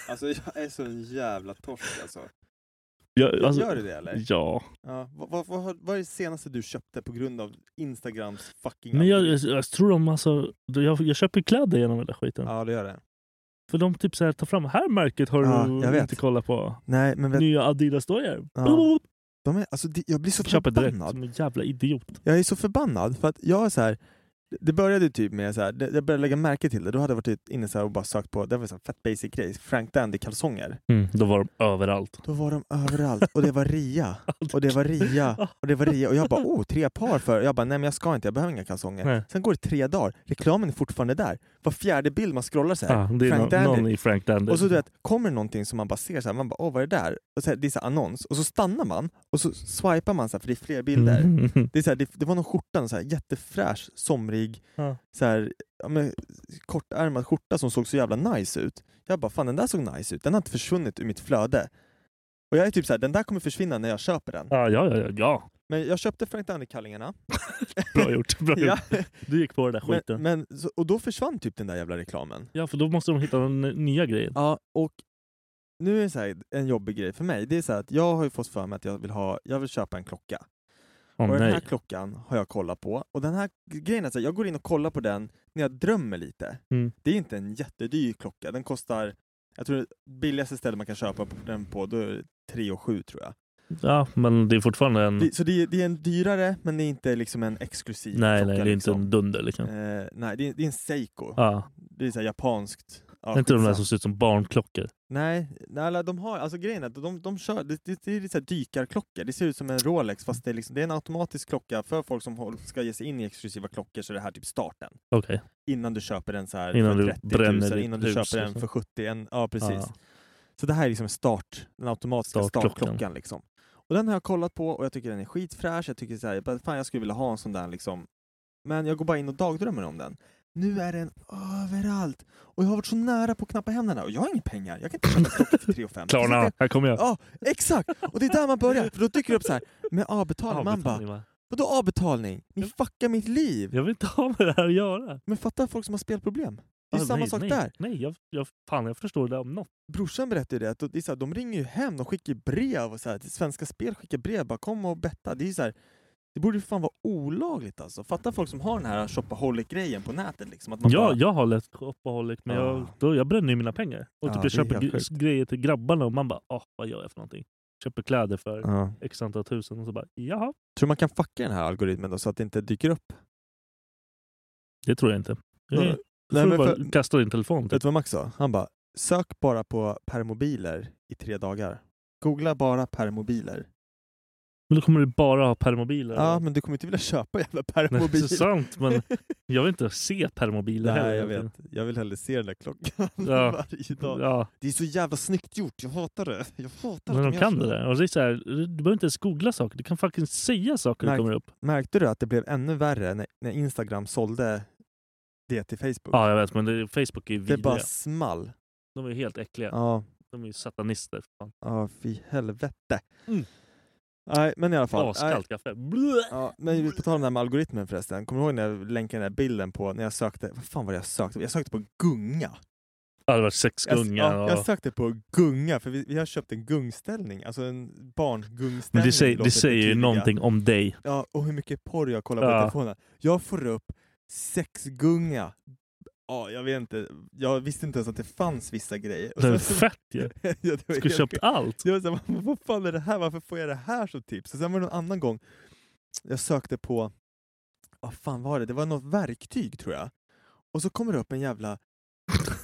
Speaker 6: Alltså jag är så en jävla torsk alltså.
Speaker 3: Jag, alltså,
Speaker 6: Gör du det eller?
Speaker 3: Ja.
Speaker 6: Ja, vad, vad, vad, har- vad är det senaste du köpte på grund av Instagrams fucking...
Speaker 3: Men jag, jag, jag tror de alltså... Jag, jag köper kläder genom den där skiten.
Speaker 6: Ja det gör det.
Speaker 3: För de typ så här, tar fram, här märket har
Speaker 6: Ja, jag
Speaker 3: du
Speaker 6: vet.
Speaker 3: inte kollat på.
Speaker 6: Nej men vet,
Speaker 3: Nya Adidas-dojor.
Speaker 6: Ja. de är, alltså, det- jag blir så
Speaker 3: Köper direkt
Speaker 6: förbannad.
Speaker 3: som en jävla idiot.
Speaker 6: Jag är så förbannad för att jag är så här. Det började ju typ med så här, det- jag började lägga märke till det. Då hade jag varit inne så här och bara sökt på, det var så här fett basic grej, Frank Dandy kalsonger.
Speaker 3: Då var de överallt.
Speaker 6: Då var de överallt och det var ria och det var ria och det var ria och jag bara oh, tre par för. Jag bara nej men jag ska inte, jag behöver inga kalsonger.
Speaker 3: Nej.
Speaker 6: Sen går det tre dagar, reklamen är fortfarande där. Var fjärde bild man scrollar så här,
Speaker 3: Ja, Ah, det är
Speaker 6: Frank
Speaker 3: Frank
Speaker 6: Dandy.
Speaker 3: någon i Frank Dandy.
Speaker 6: och så du vet, kommer det någonting som man bara ser så här, man bara åh vad är det där? Och så här, det är så här annons och så stannar man och så swipar man så här för det är fler bilder.
Speaker 3: Mm.
Speaker 6: Det, är så här, det, det var någon skjorta, en så här jättefräsch, somrig,
Speaker 3: Ja.
Speaker 6: så här, ja, men, kortärmad skjorta som såg så jävla nice ut. Jag bara, fan den där såg nice ut, den har inte försvunnit ur mitt flöde. Och jag är typ så här, den där kommer försvinna när jag köper den.
Speaker 3: Ah, Ja, ja, ja, ja, ja.
Speaker 6: Men jag köpte Frank Dandy-kallingarna.
Speaker 3: Bra gjort. Bra
Speaker 6: Ja,
Speaker 3: gjort. Du gick på den där skiten.
Speaker 6: men, men, så, och då försvann typ den där jävla reklamen.
Speaker 3: Ja, för då måste de hitta den nya grejen.
Speaker 6: Ja, och nu är det så här, en jobbig grej för mig. Det är så här att jag har ju fått för mig att jag vill, ha, jag vill köpa en klocka.
Speaker 3: Åh
Speaker 6: och den här
Speaker 3: nej.
Speaker 6: klockan har jag kollat på. Och den här grejen är så här, jag går in och kollar på den när jag drömmer lite.
Speaker 3: Mm.
Speaker 6: Det är inte en jättedyr klocka. Den kostar, jag tror det billigaste stället man kan köpa på- den på, då är det 3 och 7 tror jag.
Speaker 3: Ja, men det är fortfarande en...
Speaker 6: Det, så det är, det är en dyrare, men det är inte liksom en exklusiv
Speaker 3: nej,
Speaker 6: klocka.
Speaker 3: nej, det är inte
Speaker 6: liksom.
Speaker 3: en dunder liksom.
Speaker 6: Eh, nej, det är, det är en Seiko.
Speaker 3: Ja,
Speaker 6: Det är så här japanskt. Ja,
Speaker 3: inte de där
Speaker 6: skitsamma.
Speaker 3: som ser ut som barnklockor.
Speaker 6: Nej, nej alla de har, alltså grejen är att de, de kör, det, det, det är lite så här dykarklockor. Det ser ut som en Rolex fast det är, liksom, det är en automatisk klocka för folk som håll- ska ge sig in i exklusiva klockor så är det här typ starten.
Speaker 3: Okej.
Speaker 6: Innan du köper den så här
Speaker 3: Innan
Speaker 6: för
Speaker 3: du
Speaker 6: 30
Speaker 3: bränner
Speaker 6: 000,
Speaker 3: ditt
Speaker 6: innan du
Speaker 3: hus,
Speaker 6: köper den
Speaker 3: liksom.
Speaker 6: för 70 en, Ja, precis.
Speaker 3: Ja.
Speaker 6: Så det här är liksom start, den automatiska
Speaker 3: Startklockan.
Speaker 6: startklockan. Liksom. Och den har jag kollat på och jag tycker den är skitfräsch. Jag tycker så här, jag bara, fan jag skulle vilja ha en sån där liksom. Men jag går bara in och dagdrömmer om den. Nu är den överallt! Och jag har varit så nära på att knappa hem den här och jag har inga pengar. Jag kan inte köpa en klocka för 3 och fem.
Speaker 3: Klarna, här kommer jag.
Speaker 6: Ja, exakt! Och det är där man börjar, för då dyker det upp så här med avbetalning. Man bara,
Speaker 3: Avbetalning, va?
Speaker 6: vadå avbetalning? Ni fuckar mitt liv!
Speaker 3: Jag vill inte ha med det här att göra.
Speaker 6: Men fatta folk som har spelproblem. Det är
Speaker 3: Ah,
Speaker 6: samma
Speaker 3: nej,
Speaker 6: sak
Speaker 3: nej,
Speaker 6: där.
Speaker 3: Nej, jag, jag, fan jag förstår det om något.
Speaker 6: Brorsan berättade ju det, att det är så här, de ringer ju hem, de skickar ju brev och så här, till Svenska Spel skickar brev, bara kom och betta. Det är ju så här, det borde ju fan vara olagligt alltså. Fatta folk som har den här shopaholic-grejen på nätet liksom. Att man
Speaker 3: Ja,
Speaker 6: bara,
Speaker 3: jag har lätt shopaholic men jag,
Speaker 6: Ah.
Speaker 3: då, jag bränner ju mina pengar. Och
Speaker 6: Ja,
Speaker 3: typ
Speaker 6: det är
Speaker 3: jag köper
Speaker 6: helt
Speaker 3: gre-
Speaker 6: sjukt.
Speaker 3: grejer till grabbarna och man bara ah, vad gör jag för någonting? Köper kläder för
Speaker 6: Ja.
Speaker 3: x antal tusen och så bara jaha.
Speaker 6: Tror du man kan fucka den här algoritmen då så att det inte dyker upp?
Speaker 3: Det tror jag inte.
Speaker 6: Ja.
Speaker 3: Nej,
Speaker 6: Ah, Nej,
Speaker 3: du
Speaker 6: men
Speaker 3: får bara
Speaker 6: för-
Speaker 3: kasta din telefon.
Speaker 6: Vet
Speaker 3: Typ.
Speaker 6: du vad Max sa? Han bara, sök bara på permobiler i tre dagar. Googla bara permobiler.
Speaker 3: Men då kommer du bara ha permobiler.
Speaker 6: Ja, men du kommer inte vilja köpa jävla
Speaker 3: Nej,
Speaker 6: Ah, permobil.
Speaker 3: det är sant, men jag vill inte se permobiler heller.
Speaker 6: Nej, jag vet. Jag vill hellre se den där klockan
Speaker 3: Ja.
Speaker 6: varje dag.
Speaker 3: Ja,
Speaker 6: Det är så jävla snyggt gjort. Jag hatar det. Jag hatar
Speaker 3: men
Speaker 6: att
Speaker 3: de
Speaker 6: gör
Speaker 3: kan
Speaker 6: så.
Speaker 3: det där. Och det är så här, du behöver inte ens googla saker. Du kan faktiskt säga saker
Speaker 6: Nej.
Speaker 3: som kommer upp.
Speaker 6: Märkte du att det blev ännu värre när, när Instagram sålde det till Facebook?
Speaker 3: Ja, jag vet. Men det, Facebook är ju
Speaker 6: det
Speaker 3: vidriga.
Speaker 6: bara small.
Speaker 3: De är ju helt äckliga.
Speaker 6: Ja,
Speaker 3: De är ju satanister. för Fan.
Speaker 6: ja fy helvete.
Speaker 3: Mm.
Speaker 6: Nej, men i alla fall. Nej,
Speaker 3: Askallt kaffe. Blö!
Speaker 6: Ja, men på tal om det här med algoritmen förresten. Kommer du ihåg när jag länkade den där bilden på när jag sökte? Vad fan var det jag sökte? Jag sökte på gunga.
Speaker 3: Ja, det var sex
Speaker 6: Jag-
Speaker 3: gungar.
Speaker 6: ja,
Speaker 3: och-
Speaker 6: jag sökte på gunga, för vi, vi har köpt en gungställning. Alltså en barngungställning.
Speaker 3: Men det säger,
Speaker 6: låter
Speaker 3: det säger ju
Speaker 6: förtydliga.
Speaker 3: någonting om dig.
Speaker 6: Ja, och hur mycket porr jag kollar på
Speaker 3: Ja.
Speaker 6: telefonen. Jag får upp sexgunga. Ja, jag vet inte. Jag visste inte ens att det fanns vissa grejer. Och
Speaker 3: Det är
Speaker 6: sen-
Speaker 3: fett ju.
Speaker 6: Ja, det var
Speaker 3: Du skulle
Speaker 6: helt
Speaker 3: köpt
Speaker 6: sjukt.
Speaker 3: allt.
Speaker 6: Jag var såhär, "Vad- vad fan är det här? Varför får jag det här som tips? Och sen var det någon annan gång jag sökte på, vad fan var det? Det var något verktyg tror jag. Och så kommer det upp en jävla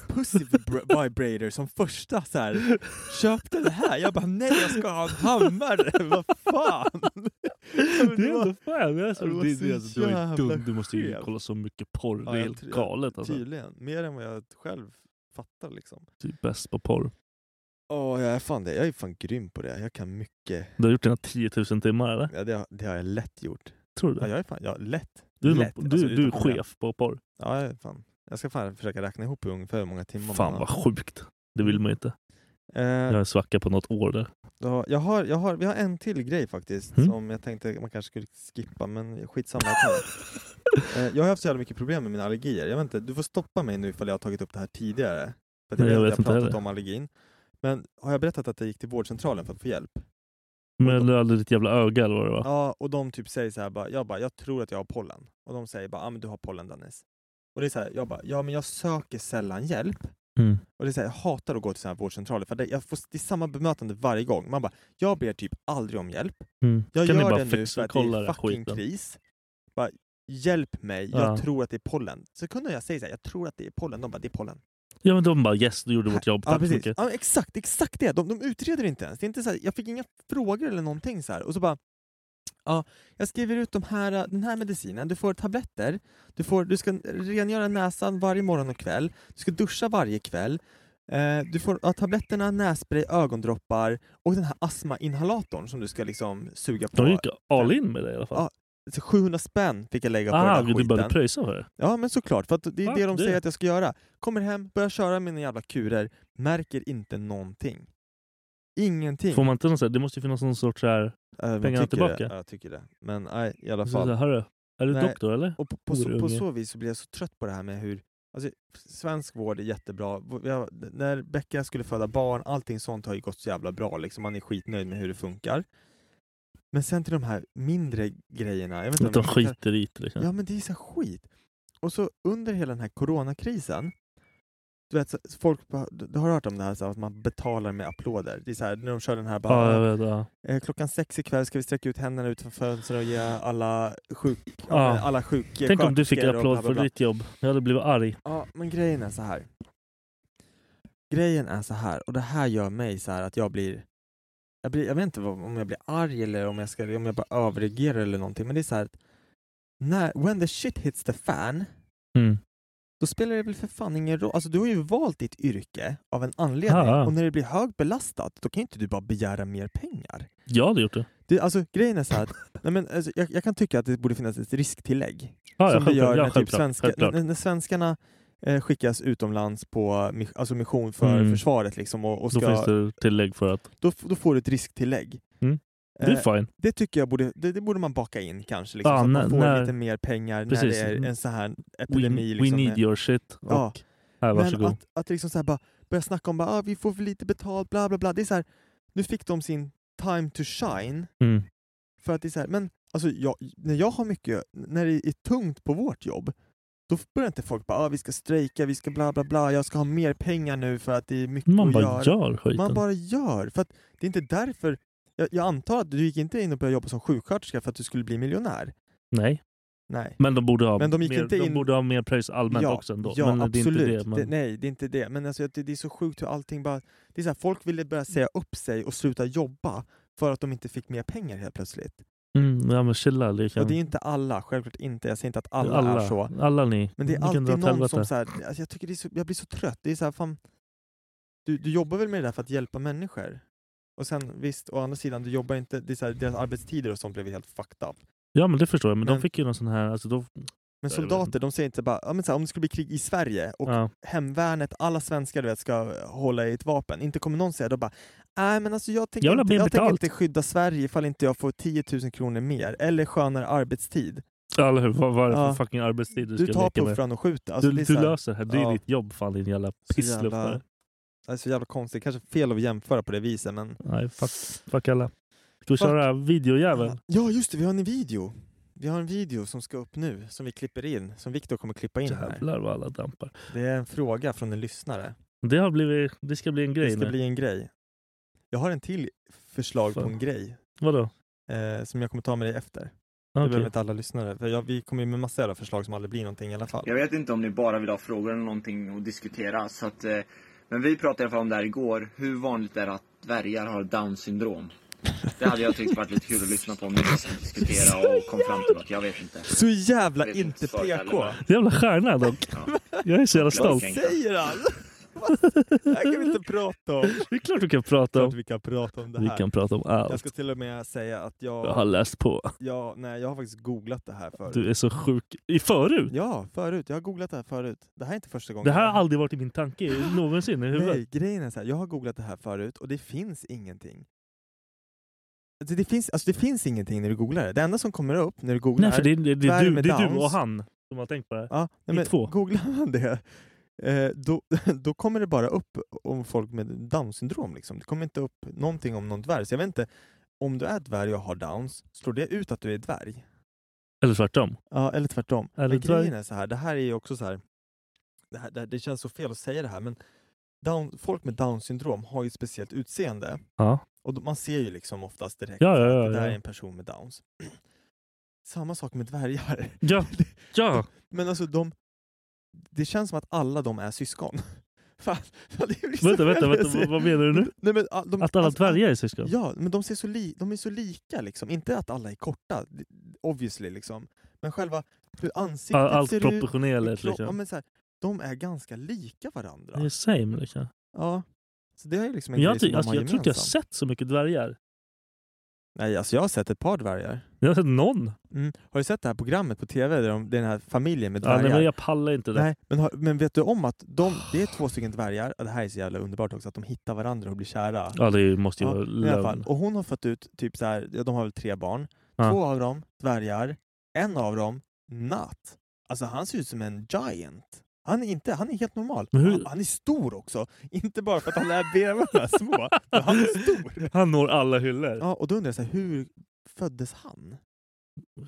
Speaker 6: pussy vibra- vibrator som första så här. Köp den här! Jag bara nej jag ska ha en hammare! vad fan! Ja, men
Speaker 3: Det
Speaker 6: det
Speaker 3: är
Speaker 6: var-
Speaker 3: ändå fan. Det är så,
Speaker 6: det var
Speaker 3: det,
Speaker 6: så
Speaker 3: det, alltså, du är
Speaker 6: jävla
Speaker 3: dum. Du måste ju
Speaker 6: skevt.
Speaker 3: kolla så mycket porr.
Speaker 6: Ja,
Speaker 3: det är
Speaker 6: jag typ.
Speaker 3: helt
Speaker 6: tror-
Speaker 3: galet alltså.
Speaker 6: Tydligen, mer än vad jag själv fattar liksom.
Speaker 3: Du är bäst på porr.
Speaker 6: Åh, jag är fan det. Jag är fan grym på det. Jag kan mycket.
Speaker 3: Du har gjort dina 10 000 timmar eller?
Speaker 6: Ja, det, har, det har jag lätt gjort.
Speaker 3: Tror du
Speaker 6: Ja,
Speaker 3: det?
Speaker 6: jag är fan, ja, lätt.
Speaker 3: Du, är
Speaker 6: lätt.
Speaker 3: nog-
Speaker 6: Alltså,
Speaker 3: du, du är
Speaker 6: utan problem.
Speaker 3: chef på porr.
Speaker 6: Ja, jag, är fan. jag ska fan försöka räkna ihop ungefär hur många timmar
Speaker 3: Fan
Speaker 6: man
Speaker 3: vad sjukt. Det vill man ju inte. Jag har
Speaker 6: Eh,
Speaker 3: en svacka på något år där.
Speaker 6: ja, jag har, jag har, vi har en till grej faktiskt
Speaker 3: Mm.
Speaker 6: som jag tänkte man kanske skulle skippa, men skitsamma. Jag, kan. eh, jag har haft så jävla mycket problem med mina allergier. Jag vet inte, du får stoppa mig nu ifall jag har tagit upp det här tidigare. För att jag,
Speaker 3: Nej, jag vet
Speaker 6: vet att jag
Speaker 3: inte
Speaker 6: har pratat
Speaker 3: heller.
Speaker 6: om allergin. Men har jag berättat att jag gick till vårdcentralen för att få hjälp?
Speaker 3: Men du hade ditt jävla öga eller vad det var?
Speaker 6: Ja, och de typ säger så här, bara, jag bara, jag tror att jag har pollen. Och de säger bara, ah, men du har pollen Dennis. Och det är så här, jag bara, ja men jag söker sällan hjälp.
Speaker 3: Mm.
Speaker 6: Och det är så här, jag hatar att gå till sådana här vårdcentraler för det, jag får, det är samma bemötande varje gång. Man bara, jag ber typ aldrig om hjälp.
Speaker 3: Mm.
Speaker 6: Jag
Speaker 3: kan
Speaker 6: gör
Speaker 3: ni bara
Speaker 6: det nu för
Speaker 3: fixa
Speaker 6: att
Speaker 3: och
Speaker 6: det
Speaker 3: kolla
Speaker 6: är
Speaker 3: den
Speaker 6: fucking
Speaker 3: skiten?
Speaker 6: kris. Bara, hjälp mig, jag
Speaker 3: Ja.
Speaker 6: tror att det är pollen. Så kunde jag säga så här, jag tror att det är pollen. De bara, det är pollen.
Speaker 3: Ja men de bara yes, du gjorde vårt jobb.
Speaker 6: Ja,
Speaker 3: Tack så
Speaker 6: precis.
Speaker 3: mycket.
Speaker 6: Ja, exakt, exakt det. De, de utreder inte ens. Det är inte så här, jag fick inga frågor eller någonting så här. Och så bara, ja, jag skriver ut de här, eh, den här medicinen. Du får tabletter. Du, får, du ska rengöra näsan varje morgon och kväll. Du ska duscha varje kväll. Eh, du får ja, tabletterna, nässpray, ögondroppar och den här astmainhalatorn som du ska liksom suga på.
Speaker 3: De gick all in med det i alla fall.
Speaker 6: Ja, Så 700 spänn fick jag lägga på
Speaker 3: ah,
Speaker 6: den här
Speaker 3: du
Speaker 6: skiten.
Speaker 3: började pröjsa för det?
Speaker 6: Ja, men såklart. För att det är
Speaker 3: Fuck
Speaker 6: det de
Speaker 3: det.
Speaker 6: säger att jag ska göra. Kommer hem, börjar köra mina jävla kurer, märker inte någonting. Ingenting.
Speaker 3: Får man inte någon så här, det måste ju finnas någon sorts så här,
Speaker 6: Äh, men jag
Speaker 3: pengarna
Speaker 6: tycker det.
Speaker 3: tillbaka? Alltså,
Speaker 6: Ja, jag tycker det. Men nej, i alla
Speaker 3: så
Speaker 6: fall.
Speaker 3: här hörru, är du
Speaker 6: Nej.
Speaker 3: doktor eller?
Speaker 6: Och på, på, så, på
Speaker 3: horunge.
Speaker 6: så vis så blir jag så trött på det här med hur Alltså, svensk vård är jättebra. Vi har- när Becka skulle föda barn, allting sånt har ju gått så jävla bra. Liksom. Man är skitnöjd med hur det funkar. Men sen till de här mindre grejerna. Jag vet inte om
Speaker 3: Att de
Speaker 6: jag kan-
Speaker 3: skiter i det liksom.
Speaker 6: Ja men det är så här skit. Och så under hela den här coronakrisen, du vet, så- folk, bara- du du har hört om det här, så här att man betalar med applåder. Det är så här, när de kör den här bara,
Speaker 3: Ja, jag vet. Ja.
Speaker 6: eh, klockan sex ikväll ska vi sträcka ut händerna utanför fönstret och ge alla sjuk,
Speaker 3: Ja.
Speaker 6: alla sjuk
Speaker 3: Tänk om du fick en
Speaker 6: sköterskor och bla,
Speaker 3: applåd
Speaker 6: bla,
Speaker 3: för
Speaker 6: bla.
Speaker 3: ditt jobb. Jag hade blivit arg.
Speaker 6: Ja, men grejen är så här. Grejen är så här, och det här gör mig så här att jag blir... Jag, blir, jag vet inte vad, om jag blir arg eller om jag, ska, om jag bara överreagerar eller någonting, men det är så här att när, when the shit hits the fan,
Speaker 3: Mm.
Speaker 6: då spelar det väl för fan ingen roll. Alltså du har ju valt ditt yrke av en anledning
Speaker 3: Ja, ja.
Speaker 6: och när det blir högbelastat, då kan ju inte du bara begära mer pengar.
Speaker 3: Jag hade gjort det.
Speaker 6: Det, alltså grejen är så här att, nej, men, alltså, jag, jag kan tycka att det borde finnas ett risktillägg
Speaker 3: Ja, ja,
Speaker 6: som vi
Speaker 3: självklart.
Speaker 6: gör
Speaker 3: ja,
Speaker 6: när, typ
Speaker 3: självklart,
Speaker 6: svenska,
Speaker 3: självklart.
Speaker 6: när, när svenskarna eh, skickas utomlands på mi- alltså mission för
Speaker 3: Mm.
Speaker 6: försvaret liksom, och, och
Speaker 3: Då
Speaker 6: ska,
Speaker 3: finns det tillägg för att
Speaker 6: då, f- då får du ett risktillägg.
Speaker 3: Mm. det
Speaker 6: Eh,
Speaker 3: är fine.
Speaker 6: det tycker jag borde, det, det borde man baka in kanske, liksom,
Speaker 3: Ja,
Speaker 6: så att man
Speaker 3: när-
Speaker 6: får
Speaker 3: när-
Speaker 6: lite mer pengar
Speaker 3: Precis.
Speaker 6: när det är en så här
Speaker 3: We,
Speaker 6: epidemi.
Speaker 3: we
Speaker 6: liksom,
Speaker 3: need your shit.
Speaker 6: Ja.
Speaker 3: Och här,
Speaker 6: men
Speaker 3: varsågod.
Speaker 6: att, att liksom så här bara börja snacka om bara, ah, vi får för lite betalt, bla bla bla. Det är så här, nu fick de sin time to shine
Speaker 3: mm.
Speaker 6: För att det är så här, men alltså jag, när jag har mycket, när det är tungt på vårt jobb, då börjar inte folk bara ah, vi ska strejka, vi ska bla bla bla, jag ska ha mer pengar nu för att det är mycket
Speaker 3: Man
Speaker 6: att
Speaker 3: bara
Speaker 6: göra.
Speaker 3: gör skiten.
Speaker 6: Man bara gör, för att det är inte därför. Jag, jag antar att du gick inte in och började jobba som sjuksköterska för att du skulle bli miljonär.
Speaker 3: Nej,
Speaker 6: Nej.
Speaker 3: men de borde ha
Speaker 6: Men de gick
Speaker 3: mer,
Speaker 6: inte
Speaker 3: de
Speaker 6: in-
Speaker 3: borde ha mer pröjs allmänt
Speaker 6: ja,
Speaker 3: också ändå.
Speaker 6: ja
Speaker 3: men det är
Speaker 6: absolut.
Speaker 3: inte det. Man...
Speaker 6: nej, det är inte det. Men alltså, det, det är så sjukt hur allting bara... Det är så här, folk ville börja säga upp sig och sluta jobba För att de inte fick mer pengar helt plötsligt.
Speaker 3: Mm, ja men chilla. Det
Speaker 6: Och
Speaker 3: kan...
Speaker 6: det är ju inte alla, självklart inte. Jag säger inte att alla, är så.
Speaker 3: Alla ni.
Speaker 6: Men det är
Speaker 3: Ni kan
Speaker 6: alltid
Speaker 3: dra åt
Speaker 6: någon som
Speaker 3: helvete.
Speaker 6: så här, alltså jag, tycker det är så, jag blir så trött. Det är så här, fan, du, du jobbar väl med det där för att hjälpa människor? Och sen visst, å andra sidan, du jobbar inte, det är så här, deras arbetstider och sånt blev helt fucked up.
Speaker 3: Ja men det förstår jag. Men,
Speaker 6: Men-
Speaker 3: de fick ju någon sån här... Alltså, de...
Speaker 6: Men
Speaker 3: Ja, jag vet
Speaker 6: soldater, de säger inte bara, ja, men så här, om det skulle bli krig i Sverige och
Speaker 3: ja.
Speaker 6: hemvärnet, alla svenskar du vet, ska hålla i ett vapen. Inte kommer någon säga då bara, nej men alltså jag tänker,
Speaker 3: Jag vill ha
Speaker 6: inte,
Speaker 3: mer
Speaker 6: jag tänker
Speaker 3: betalt."
Speaker 6: inte skydda Sverige ifall inte jag får 10 000 kronor mer, eller skönare arbetstid.
Speaker 3: Eller hur? Vad vad är det för
Speaker 6: Ja.
Speaker 3: fucking arbetstid du,
Speaker 6: Du
Speaker 3: ska
Speaker 6: tar
Speaker 3: leka med?
Speaker 6: puffran och skjuter. Alltså, det
Speaker 3: du
Speaker 6: är
Speaker 3: du
Speaker 6: så här-
Speaker 3: löser det här. Det är
Speaker 6: Ja.
Speaker 3: ditt jobb fan din jävla
Speaker 6: Så jävla-
Speaker 3: pissluffare.
Speaker 6: Det är så jävla konstigt. Kanske fel att jämföra på det viset, men...
Speaker 3: Nej, fuck, fuck alla. Ska vi
Speaker 6: Fuck.
Speaker 3: köra videojäveln?
Speaker 6: Ja, just det. Vi har en video. Vi har en video som ska upp nu, som vi klipper in. Som Viktor kommer klippa in här.
Speaker 3: Jävlar vad alla dampar.
Speaker 6: Det är en fråga från en lyssnare.
Speaker 3: Det, har blivit, det ska bli en grej
Speaker 6: Det ska
Speaker 3: nu.
Speaker 6: bli en grej. Jag har en till förslag på
Speaker 3: Fan.
Speaker 6: en grej
Speaker 3: Vadå?
Speaker 6: eh, som jag kommer ta med dig efter. Det
Speaker 3: Okej.
Speaker 6: behöver inte alla lyssnare. För jag, vi kommer ju med massa jävla förslag som aldrig blir någonting i alla fall.
Speaker 7: Jag vet inte om ni bara vill ha frågor eller någonting att diskutera. Så att, eh, men vi pratade i alla fall om det här igår. Hur vanligt är det att dvärgar har down syndrom? Det hade jag tyckt varit lite kul att lyssna på om ni skulle diskutera och kom fram till något. Jag vet inte.
Speaker 6: Så jävla
Speaker 7: Jag vet
Speaker 6: inte
Speaker 7: svaret heller,
Speaker 6: PK!
Speaker 7: men-
Speaker 3: Jävla stjärna dock. Jag är så jävla
Speaker 7: Glad
Speaker 3: stolt.
Speaker 6: Vad
Speaker 7: tänkt.
Speaker 6: säger han? Det här kan vi inte prata om.
Speaker 3: Det är klart vi kan prata
Speaker 6: Klart
Speaker 3: om.
Speaker 6: vi kan prata om det
Speaker 3: Vi
Speaker 6: här.
Speaker 3: kan prata om
Speaker 6: Jag
Speaker 3: allt.
Speaker 6: ska till och med säga att jag...
Speaker 3: Jag har läst på.
Speaker 6: Ja, nej, jag har faktiskt googlat det här förut.
Speaker 3: Du är så sjuk. I förut?
Speaker 6: Ja, förut. Jag har googlat det här förut. Det här är inte första gången.
Speaker 3: Det här har aldrig varit i min tanke någonsin i
Speaker 6: Nej,
Speaker 3: huvudet.
Speaker 6: grejen är så här. Jag har googlat det här förut och det finns ingenting. Alltså det, finns, alltså det finns ingenting när du googlar det. Det enda som kommer upp när du googlar...
Speaker 3: Nej, för det är, det, är
Speaker 6: Dvärg
Speaker 3: du,
Speaker 6: med
Speaker 3: det är du
Speaker 6: Downs.
Speaker 3: och han som har tänkt på det här.
Speaker 6: ja,
Speaker 3: är
Speaker 6: nej, men
Speaker 3: två.
Speaker 6: Googlar man det, eh, då, då kommer det bara upp om folk med Downs syndrom. Liksom. Det kommer inte upp någonting om någon dvärg. Så jag vet inte, om du är dvärg och har Downs, slår det ut att du är dvärg?
Speaker 3: Eller tvärtom.
Speaker 6: Ja, eller tvärtom.
Speaker 3: Eller
Speaker 6: men
Speaker 3: tvär-
Speaker 6: grejen är så här, det här är ju också så här, det, här, det, här, det känns så fel att säga det här, men down, folk med down syndrom har ju ett speciellt utseende.
Speaker 3: Ja.
Speaker 6: Och då- man ser ju liksom oftast direkt
Speaker 3: Ja, ja,
Speaker 6: att
Speaker 3: ja.
Speaker 6: det där är
Speaker 3: Ja,
Speaker 6: en person med downs. Samma sak med dvärgar.
Speaker 3: ja. ja.
Speaker 6: Men alltså de, det känns som att alla de är syskon. Fan, fan, det blir så
Speaker 3: Vänta, vänta,
Speaker 6: fel att
Speaker 3: vänta.
Speaker 6: säga.
Speaker 3: Vad- Vad menar du nu?
Speaker 6: Nej, men, ah, de,
Speaker 3: Att alla
Speaker 6: alltså,
Speaker 3: dvärgar är syskon?
Speaker 6: Ja, men de, ser så li- de är så lika liksom. Inte att alla är korta, d- obviously liksom. Men själva hur ansiktet
Speaker 3: All- Allt
Speaker 6: ser ut. hur
Speaker 3: proportionerligt
Speaker 6: kropp- Ja,
Speaker 3: liksom.
Speaker 6: men så här, de är ganska lika varandra.
Speaker 3: Det är same liksom.
Speaker 6: Ja. Så det är ju liksom en
Speaker 3: Men jag,
Speaker 6: grej som
Speaker 3: ty-
Speaker 6: de
Speaker 3: alltså,
Speaker 6: har
Speaker 3: jag tror inte jag har
Speaker 6: gemensamt.
Speaker 3: sett så mycket dvärgar.
Speaker 6: Nej, alltså jag har sett ett par dvärgar.
Speaker 3: Jag har sett någon.
Speaker 6: Mm. Har du sett det här programmet på TV? Där de, det är den här familjen med
Speaker 3: Ja,
Speaker 6: dvärgar.
Speaker 3: nej, men jag pallar inte det.
Speaker 6: Nej, men, har, men vet du om att de, det är två stycken dvärgar, och det här är så jävla underbart också, att de hittar varandra och blir kära.
Speaker 3: Ja, det måste ju
Speaker 6: Ja,
Speaker 3: vara
Speaker 6: i alla fall.
Speaker 3: lön.
Speaker 6: Och hon har fått ut typ så här, ja, de har väl tre barn.
Speaker 3: Ja.
Speaker 6: Två av dem dvärgar, en av dem natt. Alltså han ser ut som en giant. Han är, inte, han är helt normal.
Speaker 3: Men hur-
Speaker 6: Han, han är stor också. Inte bara för att han är benen små, men han är stor.
Speaker 3: Han når alla hyllor.
Speaker 6: Ja, och då undrar jag så här, hur föddes han?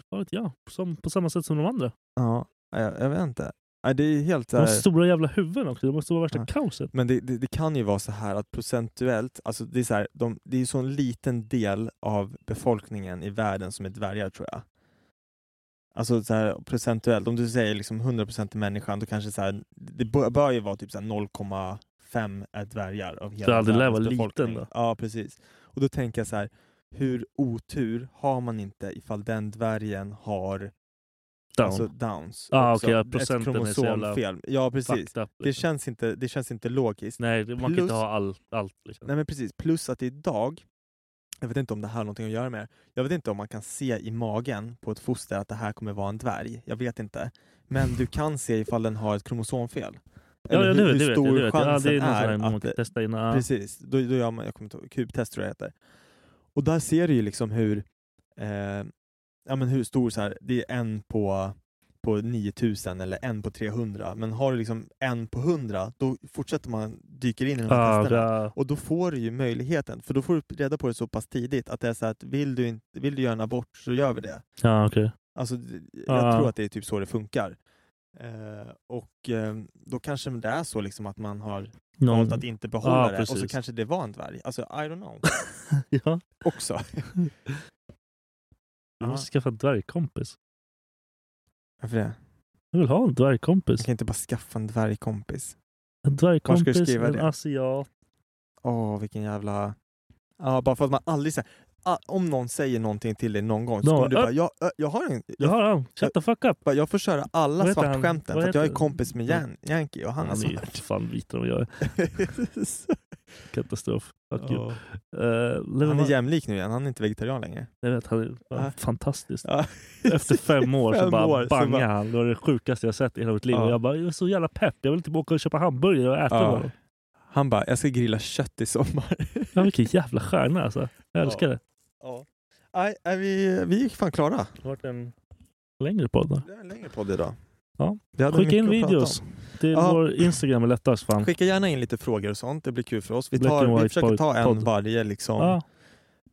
Speaker 3: Vad vet jag? Som, på samma sätt som de andra.
Speaker 6: Ja, jag, jag vet inte. Nej, Det är helt så
Speaker 3: De har
Speaker 6: här-
Speaker 3: stora jävla huvuden också. Det måste vara värsta
Speaker 6: Ja.
Speaker 3: kaoset.
Speaker 6: Men det, det, det kan ju vara så här att procentuellt, alltså det är så här, de, det är ju så en liten del av befolkningen i världen som är dvärgar tror jag. Alltså så här, procentuellt, om du säger liksom 100% till människan, då kanske så här, det bör, bör ju vara typ så här 0,5 är dvärgar av hela
Speaker 3: Ja, det lär
Speaker 6: världens
Speaker 3: vara liten
Speaker 6: befolkning.
Speaker 3: då.
Speaker 6: Ja, precis. Och då tänker jag så här, hur otur har man inte ifall den dvärgen har
Speaker 3: Down.
Speaker 6: Alltså downs?
Speaker 3: Ah,
Speaker 6: också.
Speaker 3: okej, ja,
Speaker 6: Ett
Speaker 3: procenten är så jävla
Speaker 6: kromosomfel. Ja, precis.
Speaker 3: Fucked up,
Speaker 6: Det
Speaker 3: liksom.
Speaker 6: känns inte, det känns inte logiskt.
Speaker 3: Nej, det- man kan
Speaker 6: Plus-
Speaker 3: inte ha all, allt. Liksom.
Speaker 6: Nej men precis, plus att idag, jag vet inte om det här har någonting att göra med det. Jag vet inte om man kan se i magen på ett foster att det här kommer vara en dvärg. Jag vet inte. Men du kan se ifall den har ett kromosomfel.
Speaker 3: ja,
Speaker 6: Eller
Speaker 3: ja,
Speaker 6: hur,
Speaker 3: det
Speaker 6: hur
Speaker 3: vet jag.
Speaker 6: stor
Speaker 3: Det vet. jag. Ja, det
Speaker 6: chansen
Speaker 3: är någon sån
Speaker 6: är
Speaker 3: här man
Speaker 6: att
Speaker 3: kan
Speaker 6: det,
Speaker 3: testa innan. Ja.
Speaker 6: Precis, då, då gör man, jag kommer inte ihåg, kubtest tror jag det heter. Och där ser du ju liksom hur, eh, ja men hur stor så här, det är en på, på 9000 eller en på 300. Men har du liksom en på 100, då fortsätter man, dyker in i de här
Speaker 3: Ja,
Speaker 6: testerna.
Speaker 3: ja.
Speaker 6: Och då får du ju möjligheten, för då får du reda på det så pass tidigt att det är så att vill du, inte, vill du göra en abort så gör vi det.
Speaker 3: ja okej.
Speaker 6: Alltså, d- jag
Speaker 3: Ja.
Speaker 6: tror att det är typ så det funkar. Eh, och eh, då kanske det är så liksom att man har
Speaker 3: Någon...
Speaker 6: valt att inte behålla
Speaker 3: Ja,
Speaker 6: det och så
Speaker 3: precis.
Speaker 6: kanske det var en dvärg. Alltså, I don't know.
Speaker 3: ja.
Speaker 6: Också.
Speaker 3: Jag måste skaffa en dvärgkompis.
Speaker 6: Varför det?
Speaker 3: Jag vill ha en dvärgkompis.
Speaker 6: Man kan inte bara skaffa en dvärgkompis.
Speaker 3: En
Speaker 6: Var ska du
Speaker 3: dvärgkompis,
Speaker 6: skriva
Speaker 3: en
Speaker 6: det?
Speaker 3: asiat.
Speaker 6: Åh, vilken jävla... Ja, bara för att man aldrig så här, ah, om någon säger någonting till dig någon gång
Speaker 3: No,
Speaker 6: så kommer du
Speaker 3: upp.
Speaker 6: bara, jag, ö, jag har en...
Speaker 3: Jag har han. Shut the fuck up.
Speaker 6: Jag får köra
Speaker 3: Vad
Speaker 6: alla
Speaker 3: heter han?
Speaker 6: svartskämten
Speaker 3: Vad
Speaker 6: för att jag är
Speaker 3: heter-
Speaker 6: kompis med Jan, Yankee och han är
Speaker 3: Han är ju
Speaker 6: svart.
Speaker 3: fan vitare än vad jag är. Katastrof. Fuck you.
Speaker 6: Ja.
Speaker 3: Uh,
Speaker 6: Han är jämlik nu igen, han är inte vegetarian längre.
Speaker 3: Jag vet, han är
Speaker 6: Ja.
Speaker 3: fantastisk.
Speaker 6: Ja.
Speaker 3: Efter fem år så
Speaker 6: Fem
Speaker 3: bara
Speaker 6: år, så
Speaker 3: bangar
Speaker 6: bara-
Speaker 3: han. Det var det sjukaste jag sett i hela mitt liv.
Speaker 6: Ja.
Speaker 3: Och jag bara, jag är så jävla pepp. Jag vill typ åka och köpa hamburgare och äta.
Speaker 6: Ja.
Speaker 3: bara.
Speaker 6: Han bara, jag ska grilla kött i sommar.
Speaker 3: Ja, vilken jävla stjärna alltså. Jag älskar
Speaker 6: Ja.
Speaker 3: det.
Speaker 6: Ja. Nej, nej, vi, vi är fan klara.
Speaker 3: Det har varit en längre podd. då.
Speaker 6: Det är en längre podd idag.
Speaker 3: Ja.
Speaker 6: Vi hade
Speaker 3: Skicka
Speaker 6: mycket
Speaker 3: in
Speaker 6: att prata
Speaker 3: videos.
Speaker 6: om.
Speaker 3: Det är
Speaker 6: Ja.
Speaker 3: vår Instagram är lättast fan.
Speaker 6: Skicka gärna in lite frågor och sånt, det blir kul för oss. Vi,
Speaker 3: Black and
Speaker 6: tar, vi
Speaker 3: white
Speaker 6: försöker ta en
Speaker 3: podd.
Speaker 6: varje liksom,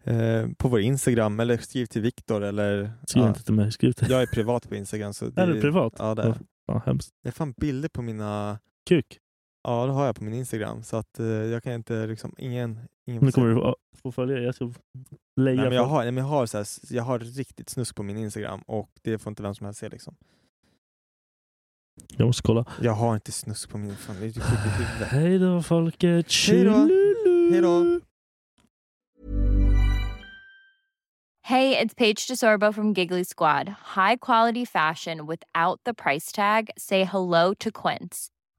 Speaker 3: Ja,
Speaker 6: eh, på vår Instagram, eller skriv till Viktor. Eller,
Speaker 3: skriv
Speaker 6: ja.
Speaker 3: inte till mig. Skriv till...
Speaker 6: Jag är privat på Instagram. Så det,
Speaker 3: Är du privat?
Speaker 6: Ja, det är jag.
Speaker 3: Ja, hemskt.
Speaker 6: Det är fan bilder på mina...
Speaker 3: Kuk.
Speaker 6: Ja, det har jag på min Instagram. Så att eh, jag kan inte liksom... Ingen... ingen
Speaker 3: Nu kommer du få- få följa. Jag ska leja.
Speaker 6: Nej, men
Speaker 3: folk.
Speaker 6: jag, har, nej, men jag, har så här, jag har riktigt snusk på min Instagram och det får inte vem som helst se. Liksom.
Speaker 3: jag måste kolla.
Speaker 6: Jag har inte snusk på min... Fan, det är ju sjukt i huvudet.
Speaker 3: Hej då folket.
Speaker 6: Hej då. Hej då!
Speaker 1: Hey, it's Paige DeSorbo from Giggly Squad. High quality fashion without the price tag. Say hello to Quince.